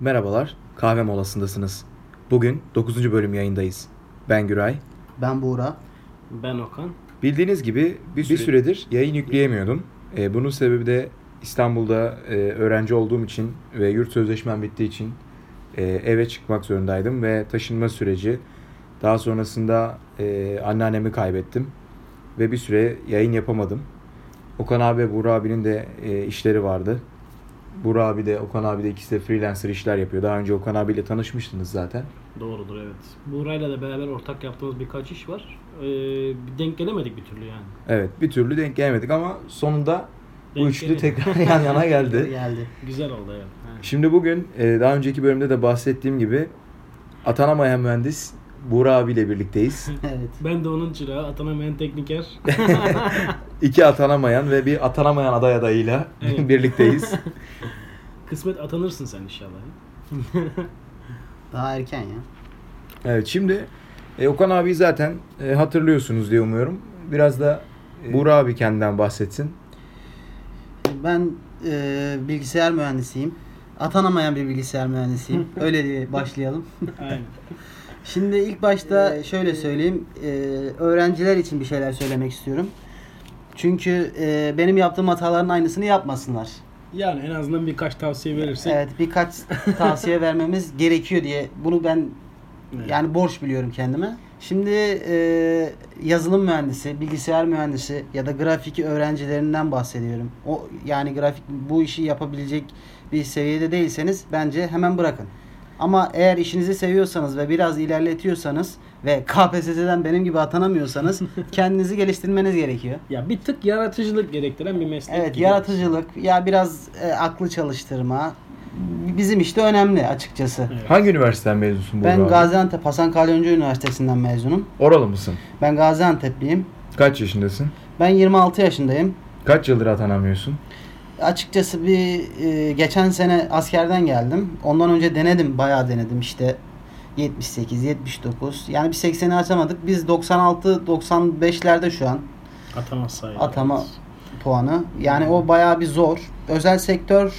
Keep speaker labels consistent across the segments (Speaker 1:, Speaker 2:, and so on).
Speaker 1: Merhabalar, kahve molasındasınız. Bugün 9. bölüm yayındayız. Ben Güray.
Speaker 2: Ben Buğra.
Speaker 3: Ben Okan.
Speaker 1: Bildiğiniz gibi bir,
Speaker 3: süre-
Speaker 1: süredir yayın yükleyemiyordum. Ee, bunun sebebi de İstanbul'da e, öğrenci olduğum için ve yurt sözleşmem bittiği için e, eve çıkmak zorundaydım ve taşınma süreci. Daha sonrasında e, anneannemi kaybettim ve bir süre yayın yapamadım. Okan abi ve Burak abinin de e, işleri vardı. Burak abi de Okan abi de ikisi de freelancer işler yapıyor. Daha önce Okan abiyle tanışmıştınız zaten.
Speaker 3: Doğrudur evet. Buğra'yla da beraber ortak yaptığımız birkaç iş var. Ee, bir denk gelemedik bir türlü yani.
Speaker 1: Evet bir türlü denk gelemedik ama sonunda bu
Speaker 3: Denk
Speaker 1: üçlü
Speaker 3: gelemedik.
Speaker 1: tekrar yan yana geldi.
Speaker 2: Geldi.
Speaker 3: Güzel oldu evet. Ha.
Speaker 1: Şimdi bugün e, daha önceki bölümde de bahsettiğim gibi atanamayan mühendis Buğra abiyle birlikteyiz.
Speaker 2: Evet.
Speaker 3: Ben de onun çırağı, atanamayan tekniker.
Speaker 1: İki atanamayan ve bir atanamayan aday adayıyla
Speaker 3: Evet.
Speaker 1: birlikteyiz.
Speaker 3: Kısmet atanırsın sen inşallah.
Speaker 2: Daha erken ya.
Speaker 1: Evet şimdi e, Okan abi zaten e, hatırlıyorsunuz diye umuyorum. Biraz da e, Buğra abi kendinden bahsetsin.
Speaker 2: Ben e, bilgisayar mühendisiyim. Atanamayan bir bilgisayar mühendisiyim. Öyle diye başlayalım.
Speaker 3: Aynen.
Speaker 2: Şimdi ilk başta şöyle söyleyeyim. e, öğrenciler için bir şeyler söylemek istiyorum. Çünkü e, benim yaptığım hataların aynısını yapmasınlar.
Speaker 3: Yani en azından birkaç tavsiye verirsek.
Speaker 2: Evet birkaç tavsiye vermemiz gerekiyor diye bunu ben
Speaker 3: Evet.
Speaker 2: yani borç biliyorum kendime. Şimdi e, yazılım mühendisi, bilgisayar mühendisi ya da grafik öğrencilerinden bahsediyorum. O yani grafik bu işi yapabilecek bir seviyede değilseniz bence hemen bırakın. Ama eğer işinizi seviyorsanız ve biraz ilerletiyorsanız ve KPSS'den benim gibi atanamıyorsanız kendinizi geliştirmeniz gerekiyor.
Speaker 3: Ya bir tık yaratıcılık gerektiren bir meslek
Speaker 2: Evet
Speaker 3: gibi.
Speaker 2: yaratıcılık ya biraz e, aklı çalıştırma bizim işte önemli açıkçası.
Speaker 3: Evet.
Speaker 1: Hangi üniversiteden mezunsun Buğra
Speaker 2: Ben
Speaker 1: abi?
Speaker 2: Gaziantep Hasan Kalyoncu Üniversitesi'nden mezunum.
Speaker 1: Oralı mısın?
Speaker 2: Ben Gaziantep'liyim.
Speaker 1: Kaç yaşındasın?
Speaker 2: Ben 26 yaşındayım.
Speaker 1: Kaç yıldır atanamıyorsun?
Speaker 2: Açıkçası bir e, geçen sene askerden geldim. Ondan önce denedim, bayağı denedim işte 78, 79. Yani bir 80'i açamadık. Biz 96, 95'lerde şu an
Speaker 3: Atamazsa.
Speaker 2: atama puanı. Yani o bayağı bir zor. Özel sektör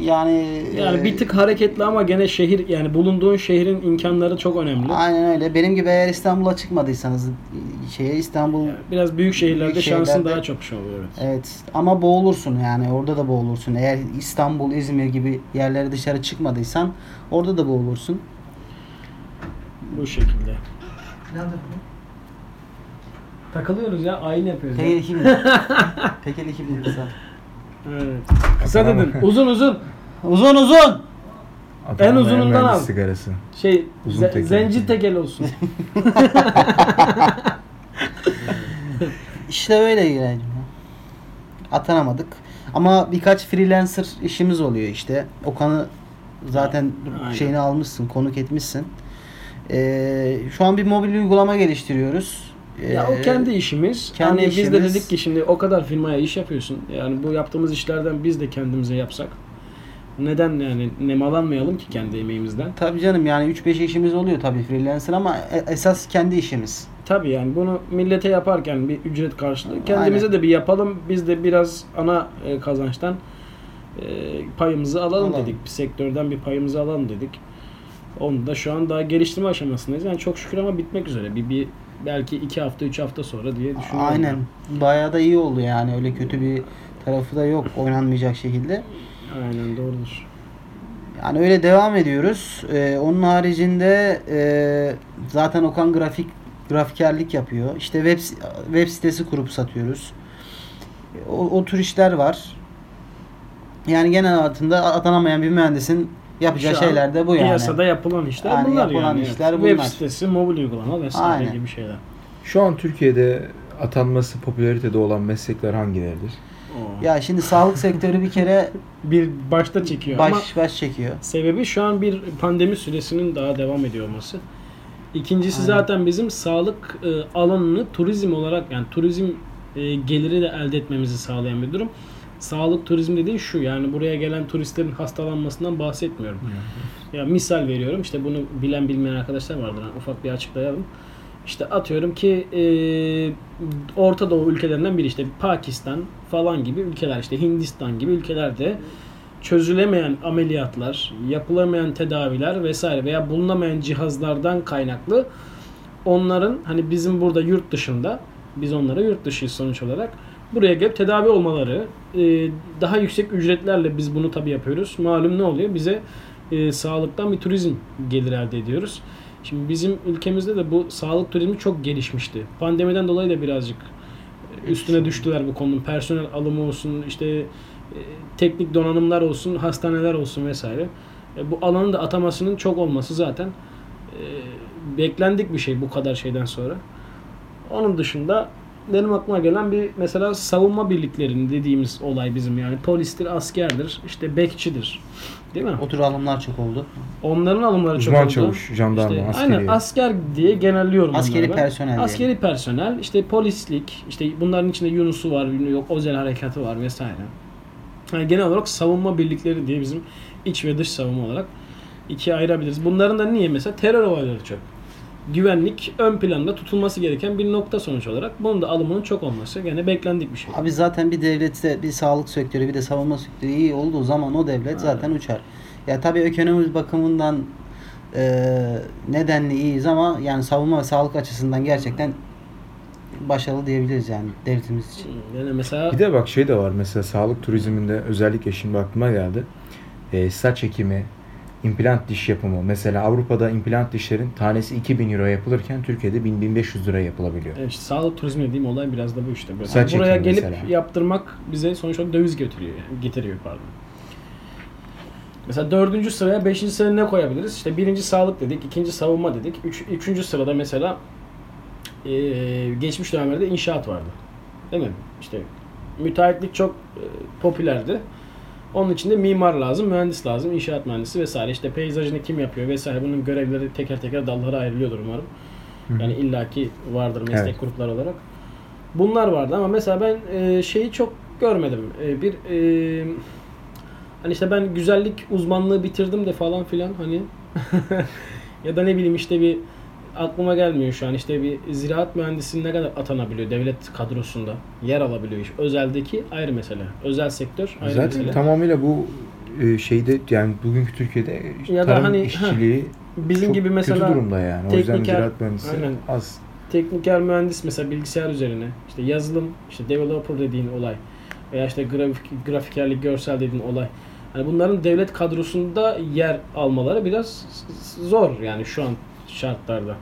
Speaker 2: yani
Speaker 3: Yani
Speaker 2: e,
Speaker 3: bir tık hareketli ama gene şehir yani bulunduğun şehrin imkanları çok önemli.
Speaker 2: aynen öyle. Benim gibi eğer İstanbul'a çıkmadıysanız şeye İstanbul
Speaker 3: Biraz büyük şehirlerde
Speaker 2: Büyük
Speaker 3: şansın
Speaker 2: şehirlerde-
Speaker 3: daha çok şey oluyor. Evet.
Speaker 2: Evet ama boğulursun yani orada da boğulursun. Eğer İstanbul, İzmir gibi yerlere dışarı çıkmadıysan orada da boğulursun.
Speaker 3: Bu şekilde. Takılıyoruz ya, ayin yapıyoruz. ya.
Speaker 2: Tekel iki bin. Tekel iki bin kısa.
Speaker 3: Evet. Kısa dedin. Uzun uzun.
Speaker 2: Uzun uzun.
Speaker 1: Atanamayan
Speaker 3: uzunundan
Speaker 1: mühendis
Speaker 3: al.
Speaker 1: sigarası.
Speaker 3: Şey,
Speaker 1: Uzun
Speaker 3: ze-
Speaker 1: tekel.
Speaker 3: zenci tekel olsun.
Speaker 2: İşte öyle yani. Atanamadık. Ama birkaç freelancer işimiz oluyor işte. Okan'ı zaten
Speaker 3: Aynen.
Speaker 2: şeyini almışsın, konuk etmişsin. Ee, şu an bir mobil uygulama geliştiriyoruz.
Speaker 3: ya o
Speaker 2: Ee,
Speaker 3: kendi işimiz.
Speaker 2: kendi
Speaker 3: hani biz de
Speaker 2: işimiz.
Speaker 3: dedik ki şimdi o kadar firmaya iş yapıyorsun. Yani bu yaptığımız işlerden biz de kendimize yapsak. Neden yani nemalanmayalım ki kendi emeğimizden?
Speaker 2: Tabii canım yani 3-5 işimiz oluyor tabii freelancer ama e- esas kendi işimiz.
Speaker 3: Tabii yani bunu millete yaparken bir ücret karşılığı kendimize de bir yapalım. Biz de biraz ana e, kazançtan e, payımızı alalım,
Speaker 2: Alalım.
Speaker 3: dedik. Bir sektörden bir payımızı alalım dedik. Onu da şu an daha geliştirme aşamasındayız. Yani çok şükür ama bitmek üzere. Bir, bir belki iki hafta, üç hafta sonra diye düşünüyorum.
Speaker 2: Aynen. Bayağı da iyi oldu yani. Öyle kötü bir tarafı da yok oynanmayacak şekilde.
Speaker 3: Aynen doğrudur.
Speaker 2: Yani öyle devam ediyoruz. Ee, onun haricinde e, zaten Okan grafik grafikerlik yapıyor. İşte web web sitesi kurup satıyoruz. O, o tür işler var. Yani genel altında atanamayan bir mühendisin yapacağı
Speaker 3: Şu an
Speaker 2: şeyler de bu yani.
Speaker 3: Piyasada yapılan işler
Speaker 2: Yani
Speaker 3: bunlar
Speaker 2: yapılan
Speaker 3: yani. evet.
Speaker 2: işler
Speaker 3: Web
Speaker 2: bunlar.
Speaker 3: sitesi, mobil uygulama vesaire
Speaker 2: Aynen.
Speaker 3: gibi şeyler.
Speaker 1: Şu an Türkiye'de atanması popülaritede olan meslekler hangileridir?
Speaker 3: Oo.
Speaker 2: Ya şimdi sağlık sektörü bir kere
Speaker 3: Bir başta çekiyor ama
Speaker 2: baş baş çekiyor.
Speaker 3: Sebebi şu an bir pandemi süresinin daha devam ediyor olması. İkincisi
Speaker 2: Aynen.
Speaker 3: zaten bizim sağlık e, alanını turizm olarak yani turizm e, geliri de elde etmemizi sağlayan bir durum. Sağlık turizm dediğin şu yani buraya gelen turistlerin hastalanmasından bahsetmiyorum. Ya misal veriyorum işte bunu bilen bilmeyen arkadaşlar vardır. Yani ufak bir açıklayalım. İşte atıyorum ki e, Orta Doğu ülkelerinden biri işte Pakistan falan gibi ülkeler işte Hindistan gibi ülkelerde çözülemeyen ameliyatlar, yapılamayan tedaviler vesaire veya bulunamayan cihazlardan kaynaklı onların hani bizim burada yurt dışında biz onlara yurt dışıyız sonuç olarak buraya gelip tedavi olmaları e, daha yüksek ücretlerle biz bunu tabi yapıyoruz. Malum ne oluyor? Bize e, sağlıktan bir turizm gelir elde ediyoruz. Şimdi bizim ülkemizde de bu sağlık turizmi çok gelişmişti. Pandemiden dolayı da birazcık e, üstüne düştüler bu konunun. Personel alımı olsun, işte e, teknik donanımlar olsun, hastaneler olsun vesaire. E, bu alanın da atamasının çok olması zaten e, beklendik bir şey bu kadar şeyden sonra. Onun dışında benim aklıma gelen bir mesela savunma birliklerinin dediğimiz olay bizim yani polistir, askerdir, işte bekçidir. Değil mi?
Speaker 2: O tür alımlar çok oldu.
Speaker 3: Onların alımları çok
Speaker 4: Uzman
Speaker 3: oldu.
Speaker 4: çavuş, jandarma,
Speaker 3: İşte
Speaker 4: askeri.
Speaker 3: Aynen asker diye genelliyorum
Speaker 2: Askeri
Speaker 3: bunları ben.
Speaker 2: personel diyelim.
Speaker 3: Askeri personel, işte polislik, işte bunların içinde Yunus'u var, bilmem yok özel harekatı var vesaire. Yani genel olarak savunma birlikleri diye bizim iç ve dış savunma olarak ikiye ayırabiliriz. Bunların da niye mesela terör olayları çok. Güvenlik ön planda tutulması gereken bir nokta sonuç olarak. Bunun da alımının çok olması gene beklendik bir şey.
Speaker 2: Abi zaten bir devlette bir sağlık sektörü bir de savunma sektörü iyi olduğu zaman o devlet zaten uçar. Ya tabii ekonomimiz bakımından e, nedenli iyiyiz ama yani savunma ve sağlık açısından gerçekten başarılı diyebiliriz yani devletimiz için.
Speaker 3: Yani mesela
Speaker 4: Bir de bak şey de var mesela sağlık turizminde özellikle şimdi aklıma geldi. Ee, saç ekimi, implant diş yapımı. Mesela Avrupa'da implant dişlerin tanesi 2000 euro yapılırken Türkiye'de 1000-1500 lira yapılabiliyor.
Speaker 3: Evet, işte sağlık turizmi dediğim olay biraz da bu işte. Böyle.
Speaker 4: Saç
Speaker 3: buraya
Speaker 4: ekimi
Speaker 3: gelip
Speaker 4: mesela.
Speaker 3: yaptırmak bize sonuç olarak döviz götürüyor yani, getiriyor pardon. Mesela dördüncü sıraya beşinci sıraya ne koyabiliriz? İşte birinci sağlık dedik, ikinci savunma dedik. Üç, üçüncü sırada mesela eee, geçmiş dönemlerde inşaat vardı. Değil mi? İşte müteahhitlik çok eee, popülerdi. Onun için de mimar lazım, mühendis lazım, inşaat mühendisi vesaire. İşte peyzajını kim yapıyor vesaire. Bunun görevleri teker teker dallara ayrılıyordur umarım. Yani illaki vardır meslek
Speaker 4: Evet.
Speaker 3: grupları olarak. Bunlar vardı ama mesela ben e, şeyi çok görmedim. E, bir e, hani işte ben güzellik uzmanlığı bitirdim de falan filan hani ya da ne bileyim işte bir aklıma gelmiyor şu an işte bir ziraat mühendisi ne kadar atanabiliyor devlet kadrosunda yer alabiliyor iş. Özeldeki ayrı mesele. Özel sektör ayrı
Speaker 4: Zaten
Speaker 3: mesele.
Speaker 4: tamamıyla bu e, şeyde yani bugünkü Türkiye'de
Speaker 3: Ya da
Speaker 4: tarım
Speaker 3: hani-
Speaker 4: işçiliği
Speaker 3: Bizim
Speaker 4: çok
Speaker 3: gibi mesela
Speaker 4: kötü durumda yani. O yüzden
Speaker 3: tekniker-
Speaker 4: ziraat mühendisi
Speaker 3: Aynen.
Speaker 4: az.
Speaker 3: tekniker mühendis mesela bilgisayar üzerine işte yazılım işte developer dediğin olay veya işte grafik grafikerlik görsel dediğin olay hani bunların devlet kadrosunda yer almaları biraz zor yani şu an şartlarda.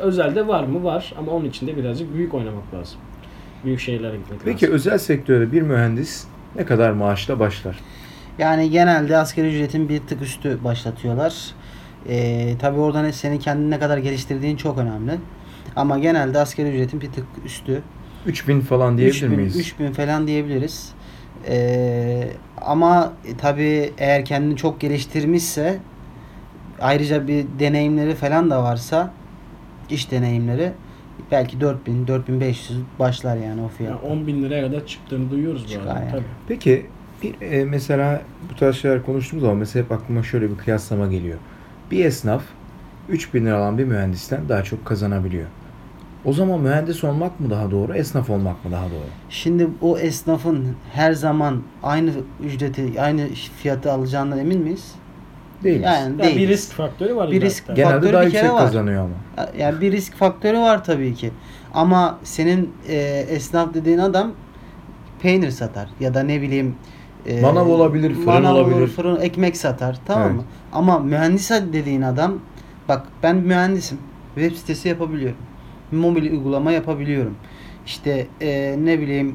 Speaker 3: Özelde var mı? Var ama onun için de birazcık büyük oynamak lazım. Büyük şehirlere gitmek
Speaker 4: Peki
Speaker 3: lazım.
Speaker 4: özel sektörde bir mühendis ne kadar maaşla başlar?
Speaker 2: Yani genelde asgari ücretin bir tık üstü başlatıyorlar. Ee, tabii oradan hep senin kendini ne kadar geliştirdiğin çok önemli. Ama genelde asgari ücretin bir tık üstü.
Speaker 4: 3000 falan diyebilir
Speaker 2: 3000,
Speaker 4: miyiz?
Speaker 2: 3000 falan diyebiliriz. Ee, ama tabii eğer kendini çok geliştirmişse ayrıca bir deneyimleri falan da varsa iş deneyimleri belki 4000 4500 başlar yani o fiyat.
Speaker 3: Yani 10 bin liraya kadar çıktığını duyuyoruz bu
Speaker 2: Çıkar
Speaker 3: arada.
Speaker 2: yani.
Speaker 3: Tabii.
Speaker 4: Peki bir e, mesela bu tarz şeyler konuştuğumuz zaman mesela hep aklıma şöyle bir kıyaslama geliyor. Bir esnaf 3000 lira alan bir mühendisten daha çok kazanabiliyor. O zaman mühendis olmak mı daha doğru, esnaf olmak mı daha doğru?
Speaker 2: Şimdi o esnafın her zaman aynı ücreti, aynı fiyatı alacağından emin miyiz?
Speaker 4: Değil.
Speaker 2: Yani
Speaker 3: Yani
Speaker 2: değil.
Speaker 3: bir risk faktörü var.
Speaker 2: Bir
Speaker 3: illa
Speaker 2: risk
Speaker 3: hatta.
Speaker 2: gene-
Speaker 4: Genelde
Speaker 2: faktörü
Speaker 4: daha
Speaker 2: bir kere
Speaker 4: yüksek
Speaker 2: var.
Speaker 4: kazanıyor ama.
Speaker 2: Yani bir risk faktörü var tabii ki. Ama senin e, esnaf dediğin adam peynir satar ya da ne bileyim e,
Speaker 4: Manav olabilir, fırın
Speaker 2: manav olur,
Speaker 4: olabilir.
Speaker 2: fırın ekmek satar tamam
Speaker 4: Evet.
Speaker 2: mı? Ama mühendis dediğin adam bak ben mühendisim. Web sitesi yapabiliyorum. Mobil uygulama yapabiliyorum. İşte e, ne bileyim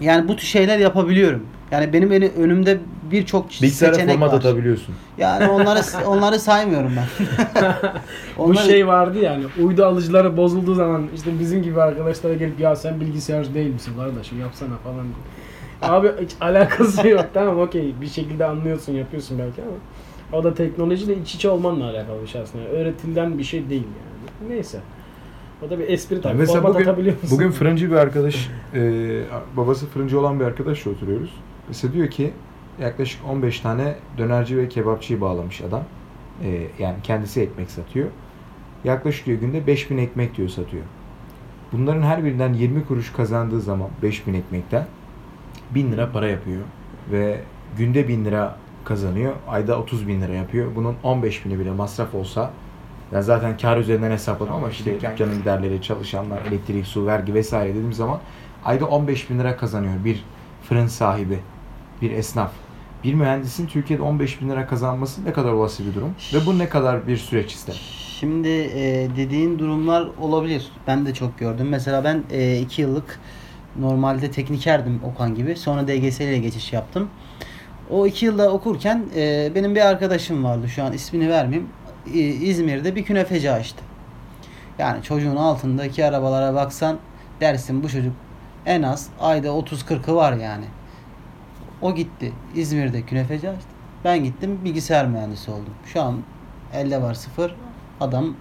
Speaker 2: yani bu tür şeyler yapabiliyorum. Yani benim beni önümde birçok
Speaker 4: Bilgisayara
Speaker 2: seçenek
Speaker 4: format
Speaker 2: var.
Speaker 4: atabiliyorsun.
Speaker 2: Yani onları onları saymıyorum ben.
Speaker 3: Bu
Speaker 2: Onları-
Speaker 3: şey vardı yani uydu alıcıları bozulduğu zaman işte bizim gibi arkadaşlara gelip ya sen bilgisayarcı değil misin kardeşim yapsana falan diyor. Abi hiç alakası yok tamam okey bir şekilde anlıyorsun yapıyorsun belki ama o da teknolojiyle iç içe olmanla alakalı bir şey aslında. Öğretilen bir şey değil yani. Neyse. O da bir espri tabii.
Speaker 4: mesela
Speaker 3: Format
Speaker 1: bugün-
Speaker 3: atabiliyor musun?
Speaker 1: Bugün fırıncı bir arkadaş, e, babası fırıncı olan bir arkadaşla oturuyoruz. Mesela diyor ki yaklaşık 15 tane dönerci ve kebapçıyı bağlamış adam. E, yani kendisi ekmek satıyor. Yaklaşık diyor günde 5000 ekmek diyor satıyor. Bunların her birinden 20 kuruş kazandığı zaman 5000 ekmekten 1000 lira para yapıyor. Ve günde 1000 lira kazanıyor. Ayda 30 bin lira yapıyor. Bunun 15 bini bile masraf olsa yani zaten kar üzerinden hesapladım ama işte dükkanın giderleri, çalışanlar, elektrik, su, vergi vesaire dediğim zaman ayda 15 bin lira kazanıyor bir fırın sahibi, bir esnaf. Bir mühendisin Türkiye'de 15 bin lira kazanması ne kadar olası bir durum ve bu ne kadar bir süreç ister?
Speaker 2: Şimdi e, dediğin durumlar olabilir. Ben de çok gördüm. Mesela ben 2 yıllık normalde teknikerdim Okan gibi. Sonra DGS ile geçiş yaptım. O 2 yılda okurken e, benim bir arkadaşım vardı. Şu an ismini vermeyeyim. İ- İzmir'de bir künefeci açtı. Yani çocuğun altındaki arabalara baksan dersin bu çocuk en az ayda 30-40'ı var yani. O gitti. İzmir'de künefeci açtı. Ben gittim bilgisayar mühendisi oldum. Şu an elde var sıfır. Adam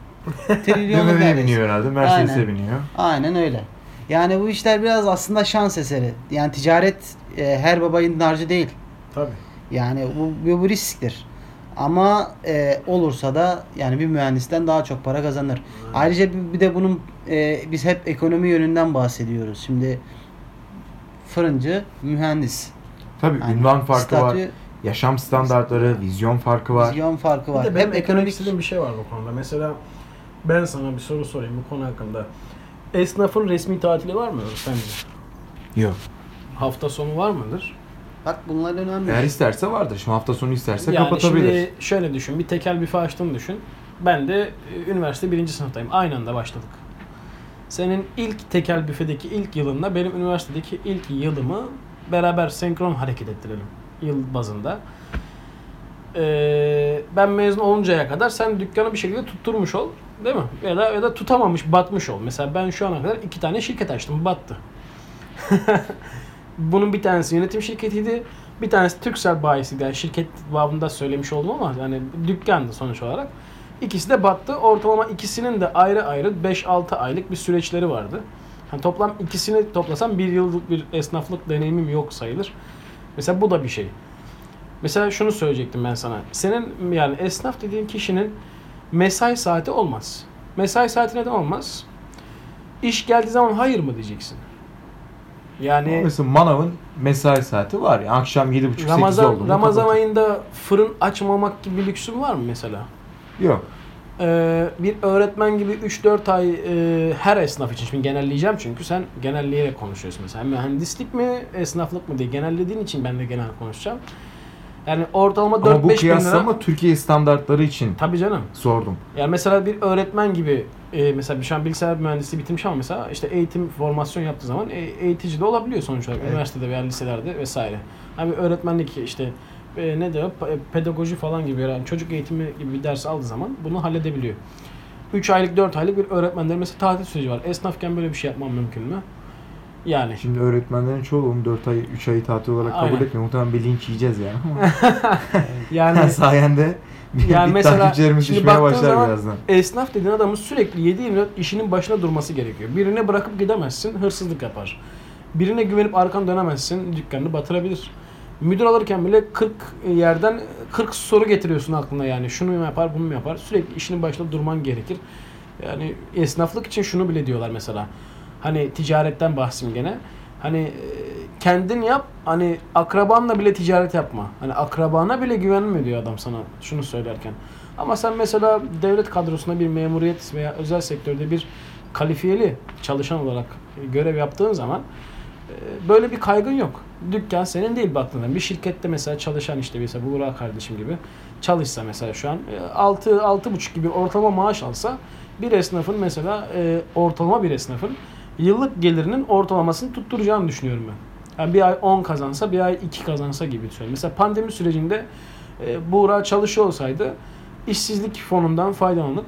Speaker 2: trilyonluk
Speaker 1: BMW'ye
Speaker 2: neredeyse.
Speaker 1: biniyor herhalde, Mercedes'e
Speaker 2: Aynen.
Speaker 1: biniyor.
Speaker 2: Aynen öyle. Yani bu işler biraz aslında şans eseri. Yani ticaret e, her babayın harcı değil.
Speaker 3: Tabii.
Speaker 2: Yani bu, bu bir risktir. Ama e, olursa da yani bir mühendisten daha çok para kazanır. Ayrıca bir, bir de bunun e, biz hep ekonomi yönünden bahsediyoruz. Şimdi fırıncı, mühendis.
Speaker 1: Tabii
Speaker 2: Yani
Speaker 1: ünvan farkı var,
Speaker 2: statü,
Speaker 1: yaşam standartları, vizyon farkı var.
Speaker 2: Vizyon farkı var.
Speaker 3: Bir de
Speaker 2: Hem
Speaker 3: benim eklemek
Speaker 2: ekonomik
Speaker 3: istediğim bir şey var bu konuda. Mesela ben sana bir soru sorayım bu konu hakkında. Esnafın resmi tatili var mı sence?
Speaker 1: Yok.
Speaker 3: Hafta sonu var mıdır?
Speaker 2: bak bunlar önemli.
Speaker 1: Eğer isterse vardır. Şimdi hafta sonu isterse
Speaker 3: yani
Speaker 1: kapatabilir.
Speaker 3: şimdi şöyle düşün. Bir tekel büfe açtığını düşün. Ben de e, üniversite birinci sınıftayım. Aynı anda başladık. Senin ilk tekel büfedeki ilk yılınla benim üniversitedeki ilk yılımı beraber senkron hareket ettirelim. Yıl bazında. Ee, ben mezun oluncaya kadar sen dükkanı bir şekilde tutturmuş ol. Değil mi? Ya da, ya da tutamamış, batmış ol. Mesela ben şu ana kadar iki tane şirket açtım. Battı. Bunun bir tanesi yönetim şirketiydi. Bir tanesi Türksel bayisiydi. Yani şirket babında söylemiş oldum ama yani dükkandı sonuç olarak. İkisi de battı. Ortalama ikisinin de ayrı ayrı 5-6 aylık bir süreçleri vardı. Yani toplam ikisini toplasam bir yıllık bir esnaflık deneyimim yok sayılır. Mesela bu da bir şey. Mesela şunu söyleyecektim ben sana. Senin yani esnaf dediğin kişinin mesai saati olmaz. Mesai saati neden olmaz? İş geldiği zaman hayır mı diyeceksin? Yani
Speaker 1: Mesela manavın mesai saati var. ya akşam 7.30-8 oldu.
Speaker 3: Ramazan
Speaker 1: mu
Speaker 3: Ramazan
Speaker 1: kapatıyor.
Speaker 3: ayında fırın açmamak gibi bir lüksün var mı mesela?
Speaker 1: Yok.
Speaker 3: Ee, bir öğretmen gibi 3-4 ay e, her esnaf için şimdi genelleyeceğim çünkü sen genelleyerek konuşuyorsun mesela. Mühendislik mi, esnaflık mı diye genellediğin için ben de genel konuşacağım. Yani ortalama 4-5
Speaker 1: Ama bu
Speaker 3: bin lira.
Speaker 1: kıyaslama Türkiye standartları için
Speaker 3: Tabii canım.
Speaker 1: sordum.
Speaker 3: Yani mesela bir öğretmen gibi e, mesela bir şu an bilgisayar mühendisliği bitirmiş ama mesela işte eğitim formasyon yaptığı zaman e, eğitici de olabiliyor sonuç olarak üniversitede veya liselerde vesaire. Hani bir öğretmenlik işte e, ne diyor pa- e, pedagoji falan gibi yani çocuk eğitimi gibi bir ders aldığı zaman bunu halledebiliyor. 3 aylık 4 aylık bir öğretmenlerin mesela tatil süreci var. Esnafken böyle bir şey yapmam mümkün mü? Yani
Speaker 1: Şimdi öğretmenlerin çoğu onu 4 ay 3 ayı tatil olarak kabul
Speaker 3: Aynen.
Speaker 1: etmiyor. Muhtemelen bir linç yiyeceğiz yani.
Speaker 3: yani
Speaker 1: Ama sayende bir,
Speaker 3: Yani
Speaker 1: bir
Speaker 3: mesela
Speaker 1: takipçilerimiz
Speaker 3: şimdi
Speaker 1: düşmeye
Speaker 3: baktığın
Speaker 1: başlar
Speaker 3: zaman-
Speaker 1: birazdan.
Speaker 3: esnaf dediğin adamın sürekli 7-24 işinin başına durması gerekiyor. Birine bırakıp gidemezsin, hırsızlık yapar. Birine güvenip arkan dönemezsin, dükkanını batırabilir. Müdür alırken bile 40 yerden 40 soru getiriyorsun aklına yani. Şunu mu yapar, bunu mu yapar? Sürekli işinin başında durman gerekir. Yani esnaflık için şunu bile diyorlar mesela. Hani ticaretten bahsim gene. Hani e, kendin yap, hani akrabanla bile ticaret yapma. Hani akrabana bile güvenme diyor adam sana şunu söylerken. Ama sen mesela devlet kadrosunda bir memuriyet veya özel sektörde bir kalifiyeli çalışan olarak e, görev yaptığın zaman e, böyle bir kaygın yok. Dükkan senin değil baktığında. Bir şirkette mesela çalışan işte mesela bu Burak kardeşim gibi çalışsa mesela şu an 6 altı buçuk gibi ortalama maaş alsa bir esnafın mesela e, ortalama bir esnafın yıllık gelirinin ortalamasını tutturacağını düşünüyorum ben. Yani bir ay 10 kazansa bir ay 2 kazansa gibi söylüyorum. Mesela pandemi sürecinde e, Buğra çalışıyor olsaydı işsizlik fonundan faydalanıp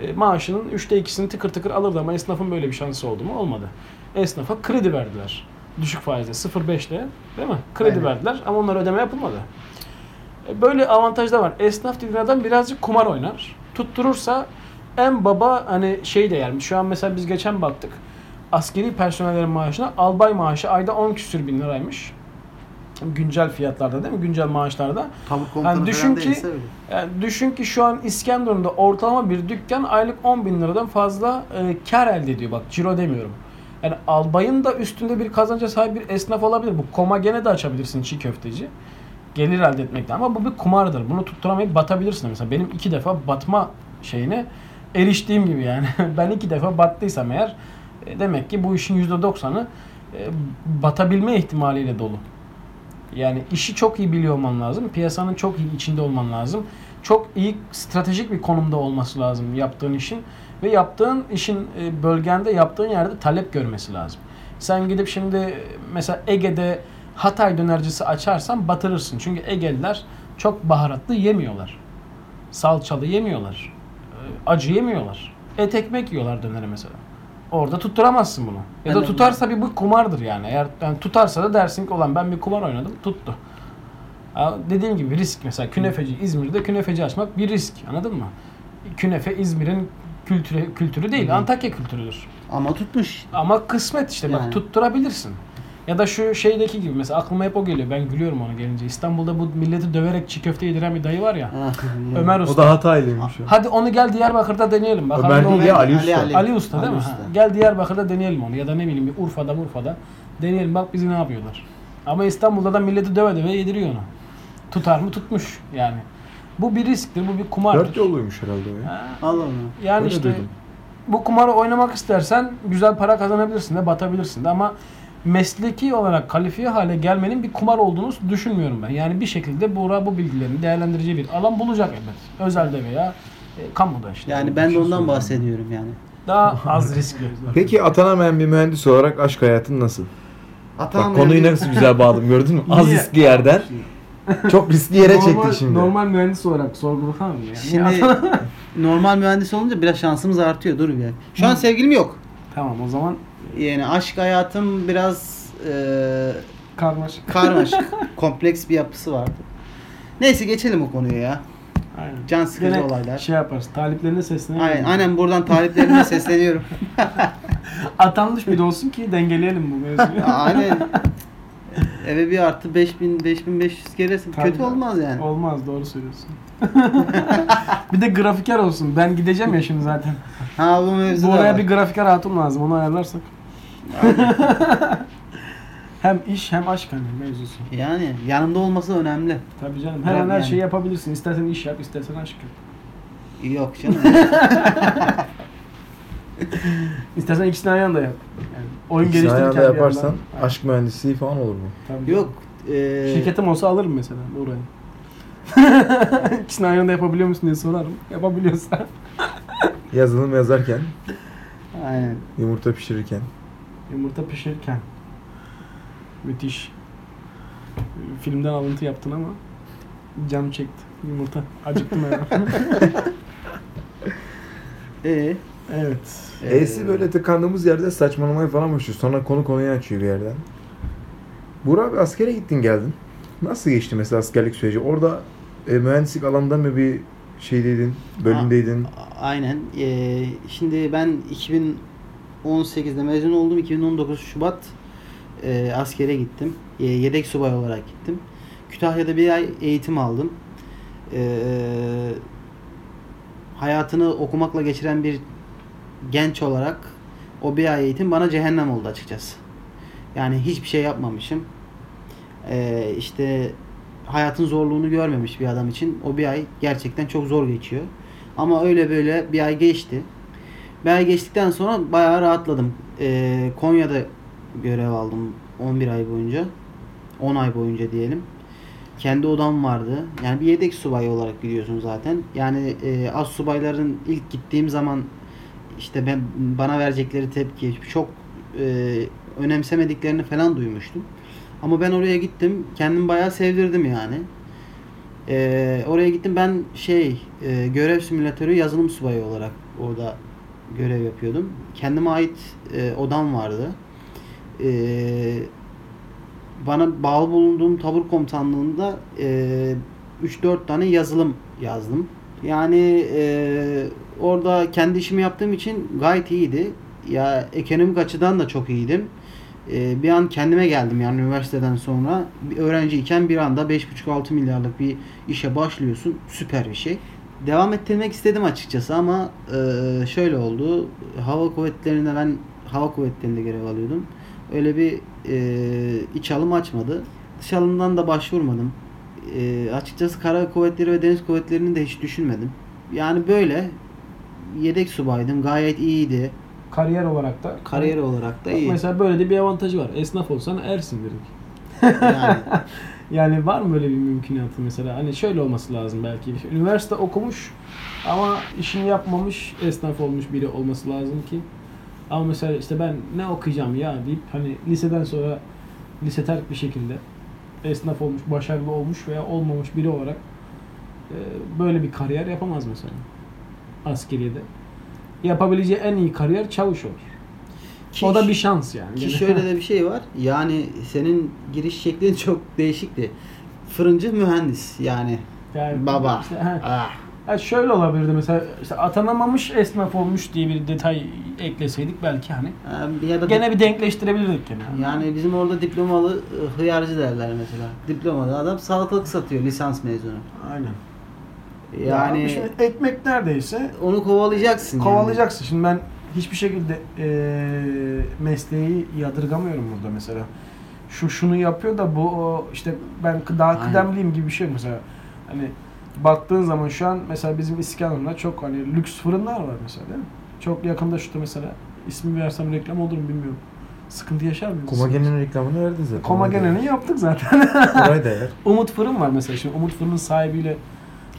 Speaker 3: e, maaşının 3'te 2'sini tıkır tıkır alırdı ama esnafın böyle bir şansı oldu mu? Olmadı. Esnafa kredi verdiler. Düşük faizle 0.5'le değil mi? Kredi
Speaker 2: Aynen.
Speaker 3: verdiler ama onlara ödeme yapılmadı. E, Böyle avantaj da var. Esnaf dediğin adam birazcık kumar oynar. Tutturursa en baba hani şey de yani şu an mesela biz geçen baktık. Askeri personellerin maaşına albay maaşı ayda 10 küsür bin liraymış. Güncel fiyatlarda değil mi? Güncel maaşlarda.
Speaker 2: Tabur
Speaker 3: komutanı Yani düşün falan ki- değilse Yani düşün ki şu an İskenderun'da ortalama bir dükkan aylık 10 bin liradan fazla e, kar elde ediyor. Bak ciro demiyorum. Yani albayın da üstünde bir kazanca sahip bir esnaf olabilir. Bu koma gene de açabilirsin çiğ köfteci. gelir elde etmekte. Ama bu bir kumardır. Bunu tutturamayıp batabilirsin. Mesela benim iki defa batma şeyine eriştiğim gibi yani. ben iki defa battıysam eğer e, demek ki bu işin %90'ı e, batabilme ihtimaliyle dolu. Yani işi çok iyi biliyor olman lazım. Piyasanın çok iyi içinde olman lazım. Çok iyi stratejik bir konumda olması lazım yaptığın işin. Ve yaptığın işin e, bölgende yaptığın yerde talep görmesi lazım. Sen gidip şimdi e, mesela Ege'de Hatay dönercisi açarsan batırırsın. Çünkü Egeliler çok baharatlı yemiyorlar. Salçalı yemiyorlar. E, Acı yemiyorlar. Et ekmek yiyorlar döneri mesela. Orada tutturamazsın bunu. Ya da
Speaker 2: Evet.
Speaker 3: tutarsa bir bu kumardır yani. Eğer yani tutarsa da dersin ki olan ben bir kumar oynadım tuttu. Ya dediğim gibi risk mesela künefeci İzmir'de künefeci açmak bir risk anladın mı? Künefe İzmir'in kültürü, kültürü değil Antakya kültürüdür.
Speaker 2: Ama tutmuş.
Speaker 3: Ama kısmet işte bak
Speaker 2: Yani.
Speaker 3: tutturabilirsin. Ya da şu şeydeki gibi mesela aklıma hep o geliyor. Ben gülüyorum ona gelince. İstanbul'da bu milleti döverek çiğ köfte yediren bir dayı var ya.
Speaker 2: Ah,
Speaker 3: Ömer
Speaker 1: O
Speaker 3: Usta.
Speaker 1: da Hataylıymış. ya.
Speaker 3: Hadi onu gel Diyarbakır'da deneyelim. Bakalım
Speaker 1: Ömer
Speaker 3: ne
Speaker 1: değil
Speaker 3: oluyor.
Speaker 1: ya Ali Usta.
Speaker 3: Ali Usta değil
Speaker 2: Ali
Speaker 3: mi?
Speaker 2: Usta.
Speaker 3: Ha, Gel Diyarbakır'da deneyelim onu ya da ne bileyim bir Urfa'da Urfa'da deneyelim bak bizi ne yapıyorlar. Ama İstanbul'da da milleti döve döve yediriyor onu. Tutar mı tutmuş yani. Bu bir risktir, bu bir kumardır.
Speaker 1: Dört yoluymuş herhalde o ya.
Speaker 3: Ha,
Speaker 2: Al onu.
Speaker 3: Yani
Speaker 1: Öyle
Speaker 3: işte
Speaker 1: duydum.
Speaker 3: bu kumarı oynamak istersen güzel para kazanabilirsin de batabilirsin de ama mesleki olarak kalifiye hale gelmenin bir kumar olduğunu düşünmüyorum ben. Yani bir şekilde Buğra bu bilgilerini değerlendireceği bir alan bulacak elbet. Özelde veya e, kamuda işte.
Speaker 2: Yani ben de ondan bahsediyorum yani.
Speaker 3: Daha az riskli.
Speaker 1: Peki atanamayan bir mühendis olarak aşk hayatın nasıl?
Speaker 2: Atam
Speaker 1: Bak konuyu nasıl güzel bağladım gördün mü? Az
Speaker 3: Niye?
Speaker 1: riskli yerden çok riskli yere çektik şimdi.
Speaker 3: mühendis olarak sorgulatamam ya.
Speaker 2: Şimdi normal mühendis olunca biraz şansımız artıyor. Dur bir dakika. Şu an sevgilim yok.
Speaker 3: tamam o zaman
Speaker 2: Yani aşk hayatım biraz e,
Speaker 3: karmaşık.
Speaker 2: karmaşık. kompleks bir yapısı vardı. Neyse geçelim o konuya ya.
Speaker 3: Aynen.
Speaker 2: Can sıkıcı
Speaker 3: Gene
Speaker 2: olaylar.
Speaker 3: Şey yaparız. Taliplerine seslenelim.
Speaker 2: Aynen, aynen buradan taliplerime sesleniyorum.
Speaker 3: Atanmış bir de olsun ki dengeleyelim bu mevzuyu.
Speaker 2: aynen. Eve bir artı 5000 5500 gelirsin.
Speaker 3: Tabii.
Speaker 2: Kötü olmaz yani.
Speaker 3: Olmaz doğru söylüyorsun. bir de grafiker olsun. Ben gideceğim ya şimdi zaten.
Speaker 2: Ha bu mevzu
Speaker 3: Bu
Speaker 2: da
Speaker 3: oraya
Speaker 2: var.
Speaker 3: bir grafiker hatun lazım. Onu ayarlarsak. hem iş hem aşk hani mevzusu.
Speaker 2: Yani yanımda olması önemli.
Speaker 3: Tabii canım. Her
Speaker 2: Tabii
Speaker 3: an her
Speaker 2: yani.
Speaker 3: şeyi yapabilirsin. İstersen iş yap, istersen aşk yap.
Speaker 2: Yok canım.
Speaker 3: İstersen ikisini aynı anda yap. Yani oyun
Speaker 1: İkisini aynı
Speaker 3: geliştirirken
Speaker 1: anda
Speaker 3: bir
Speaker 1: yaparsan
Speaker 3: yandan- Aynen.
Speaker 1: aşk mühendisliği falan olur mu?
Speaker 3: Tabii.
Speaker 2: Yok. E,
Speaker 3: Şirketim olsa alırım mesela orayı. İkisini aynı anda yapabiliyor musun diye sorarım. Yapabiliyorsan.
Speaker 1: Yazılım yazarken,
Speaker 2: Aynen.
Speaker 1: yumurta pişirirken.
Speaker 3: Yumurta pişirirken. Müthiş. Filmden alıntı yaptın ama cam çekti. Yumurta. Acıktım ya.
Speaker 2: Ee,
Speaker 3: evet.
Speaker 1: E'si böyle tıkandığımız yerde saçmalamaya falan başlıyor. Sonra konu konuyu açıyor bir yerden. Burak abi askere gittin geldin. Nasıl geçti mesela askerlik süreci? Orada e, mühendislik alanında mı bir şeydeydin, bölümdeydin?
Speaker 2: a- aynen. Ee, şimdi ben 2018'de mezun oldum. 2019 Şubat e, askere gittim. E, yedek subay olarak gittim. Kütahya'da bir ay eğitim aldım. Ee, hayatını okumakla geçiren bir genç olarak o bir ay eğitim bana cehennem oldu açıkçası. Yani hiçbir şey yapmamışım. Ee, işte hayatın zorluğunu görmemiş bir adam için o bir ay gerçekten çok zor geçiyor. Ama öyle böyle bir ay geçti. Bir ay geçtikten sonra bayağı rahatladım. Ee, Konya'da görev aldım 11 ay boyunca. 10 ay boyunca diyelim. Kendi odam vardı. Yani bir yedek subay olarak gidiyorsun zaten. Yani e, az subayların ilk gittiğim zaman işte ben bana verecekleri tepki çok e, önemsemediklerini falan duymuştum. Ama ben oraya gittim. Kendimi bayağı sevdirdim yani. Ee, oraya gittim ben şey e, görev simülatörü yazılım subayı olarak orada görev yapıyordum. Kendime ait e, odam vardı. Ee, bana bağlı bulunduğum tabur komutanlığında e, 3-4 tane yazılım yazdım. Yani e, orada kendi işimi yaptığım için gayet iyiydi. Ya ekonomik açıdan da çok iyiydim. E, bir an kendime geldim yani üniversiteden sonra. Bir öğrenciyken bir anda 5,5-6 milyarlık bir işe başlıyorsun. Süper bir şey. Devam ettirmek istedim açıkçası ama e, şöyle oldu. Hava kuvvetlerine ben hava kuvvetlerinde görev alıyordum. Öyle bir e, iç alım açmadı. Dış alımdan da başvurmadım. e, açıkçası kara kuvvetleri ve deniz kuvvetlerini de hiç düşünmedim. Yani böyle yedek subaydım. Gayet iyiydi.
Speaker 3: Kariyer olarak da.
Speaker 2: Kariyer olarak da
Speaker 3: Bak
Speaker 2: iyi.
Speaker 3: Mesela böyle de bir avantajı var. Esnaf olsan ersin direkt.
Speaker 2: Yani
Speaker 3: Yani var mı böyle bir mümkünatı mesela? Hani şöyle olması lazım belki. Üniversite okumuş ama işini yapmamış, esnaf olmuş biri olması lazım ki. Ama mesela işte ben ne okuyacağım ya deyip hani liseden sonra lise terk bir şekilde esnaf olmuş, başarılı olmuş veya olmamış biri olarak e, böyle bir kariyer yapamaz mesela askeriyede. Yapabileceği en iyi kariyer çavuş olur.
Speaker 2: Ki-
Speaker 3: o da bir şans yani.
Speaker 2: Ki
Speaker 3: Gene-
Speaker 2: şöyle de bir şey var. Yani senin giriş şeklin çok değişikti. Fırıncı mühendis yani.
Speaker 3: Yani
Speaker 2: Baba.
Speaker 3: işte, he.
Speaker 2: Ah.
Speaker 3: Ha şöyle olabilirdi mesela işte atanamamış esnaf olmuş diye bir detay ekleseydik belki hani.
Speaker 2: Ee, Ya da
Speaker 3: Gene bir denkleştirebilirdik gene.
Speaker 2: yani bizim orada diplomalı e, hıyarcı derler mesela. Diplomalı adam salatalık satıyor lisans mezunu.
Speaker 3: Aynen.
Speaker 2: Yani
Speaker 3: Ya şimdi ekmek neredeyse
Speaker 2: onu kovalayacaksın. yani.
Speaker 3: kovalayacaksın. Şimdi ben hiçbir şekilde eee, mesleği yadırgamıyorum burada mesela. Şu şunu yapıyor da bu o, işte ben kı- daha
Speaker 2: Aynen.
Speaker 3: kıdemliyim gibi bir şey mesela. Hani baktığın zaman şu an mesela bizim İskenderun'da çok hani lüks fırınlar var mesela değil mi? Çok yakında şurada mesela ismi versem reklam olur mu bilmiyorum. Sıkıntı yaşar mıyız?
Speaker 1: Komagen'in reklamını verdin zaten.
Speaker 3: Komagenen'i yaptık zaten.
Speaker 1: Koray da ver.
Speaker 3: Umut Fırın var mesela. Şimdi Umut Fırın'ın sahibiyle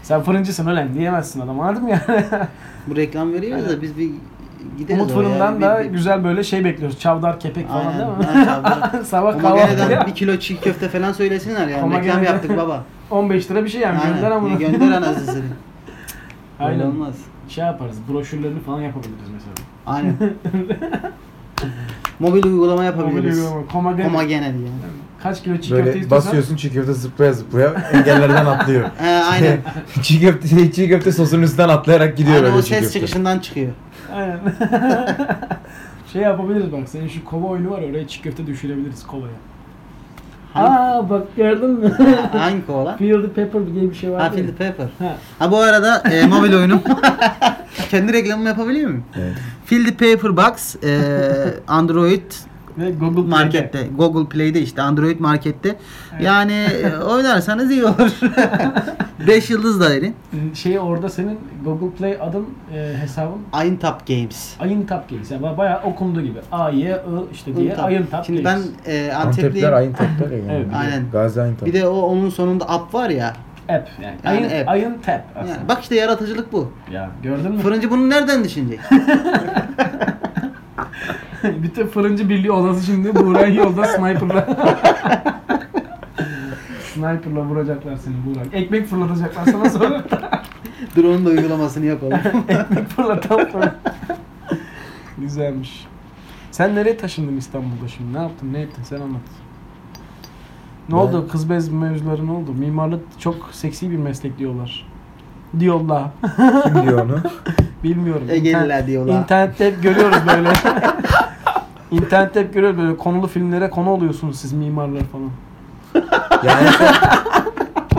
Speaker 3: sen fırıncısın ölen diyemezsin adam anladın mı yani?
Speaker 2: Bu reklam veriyoruz
Speaker 3: Aynen.
Speaker 2: da biz bir gideriz
Speaker 3: Umut
Speaker 2: oraya.
Speaker 3: Fırın'dan
Speaker 2: Bir-
Speaker 3: da
Speaker 2: bir-
Speaker 3: güzel böyle şey bekliyoruz. Çavdar kepek falan
Speaker 2: Aynen.
Speaker 3: değil mi?
Speaker 2: Ben çağırdım.
Speaker 3: Sabah
Speaker 2: Komagene'den
Speaker 3: kahvaltıya
Speaker 2: bir kilo çiğ köfte falan söylesinler yani.
Speaker 3: Komagene'den-
Speaker 2: Reklam yaptık baba.
Speaker 3: 15 lira bir şey yani
Speaker 2: Aynen.
Speaker 3: gönder ama.
Speaker 2: Gönder anasını. satayım. Öyle
Speaker 3: Aynen.
Speaker 2: olmaz.
Speaker 3: Şey yaparız broşürlerini falan yapabiliriz mesela.
Speaker 2: Aynen. Mobil uygulama yapabiliriz.
Speaker 3: Komagen.
Speaker 2: Komagene diye.
Speaker 3: Kaç kilo çiğ köfte
Speaker 1: Böyle
Speaker 3: istiyorsan.
Speaker 1: basıyorsun çiğ köfte zıplaya zıplaya engellerden atlıyor.
Speaker 2: He, aynen.
Speaker 1: çiğ köfte şey, çiğ köfte sosunun üstünden atlayarak gidiyor
Speaker 2: aynen
Speaker 1: böyle
Speaker 2: o
Speaker 1: çiğ
Speaker 2: ses
Speaker 1: köfte.
Speaker 2: çıkışından çıkıyor.
Speaker 3: Aynen. şey yapabiliriz bak senin şu kova oyunu var ya, oraya çiğ köfte düşürebiliriz kovaya.
Speaker 2: Hangi,
Speaker 3: Aa bak gördün mü?
Speaker 2: hangi kovalar?
Speaker 3: Feel the pepper diye bir şey var.
Speaker 2: Ha, Field Paper.
Speaker 3: Ha.
Speaker 2: Ha bu arada e, mobil oyunum. Kendi reklamımı yapabiliyor muyum?
Speaker 1: Evet.
Speaker 2: Field Paper Box e, Android
Speaker 3: Ve Google Play'de.
Speaker 2: markette. Google Play'de işte Android markette. Yani e, oynarsanız iyi olur. 5 yıldız da verin.
Speaker 3: Şey orada senin Google Play adın e, hesabın
Speaker 2: Top Games.
Speaker 3: Ayın Tap Games. Yani bayağı okundu gibi. A, Y, I işte diye Ayın Tap
Speaker 2: Şimdi ben
Speaker 3: Games.
Speaker 2: e,
Speaker 1: Antepler
Speaker 2: Antepliyim.
Speaker 1: ayın tatlar yani.
Speaker 3: Evet.
Speaker 2: Aynen.
Speaker 1: Gazi ayın tatlar.
Speaker 2: Bir de o onun sonunda app var ya.
Speaker 3: App yani.
Speaker 2: Yani
Speaker 3: ayın,
Speaker 2: app.
Speaker 3: ayın Tap aslında.
Speaker 2: Yani bak işte yaratıcılık bu.
Speaker 3: Ya gördün mü?
Speaker 2: Fırıncı bunu nereden düşünecek?
Speaker 3: Bütün fırıncı birliği odası şimdi Buğray yolda sniperla. sniperla vuracaklar seni Buğray. Ekmek fırlatacaklar sana sonra.
Speaker 2: Drone'un da uygulamasını yapalım.
Speaker 3: Ekmek fırlatalım. Güzelmiş. Sen nereye taşındın İstanbul'da şimdi? Ne yaptın? Ne ettin? Sen anlat. Ne
Speaker 1: Ben-
Speaker 3: oldu? Kız bez mevzuları ne oldu? Mimarlık çok seksi bir meslek diyorlar. Diyorlar.
Speaker 1: Kim diyor onu?
Speaker 3: Bilmiyorum.
Speaker 2: Egeliler diyorlar.
Speaker 3: İnternette hep görüyoruz böyle. İnternette hep görüyoruz böyle konulu filmlere konu oluyorsunuz siz mimarlar falan.
Speaker 1: Ya en son,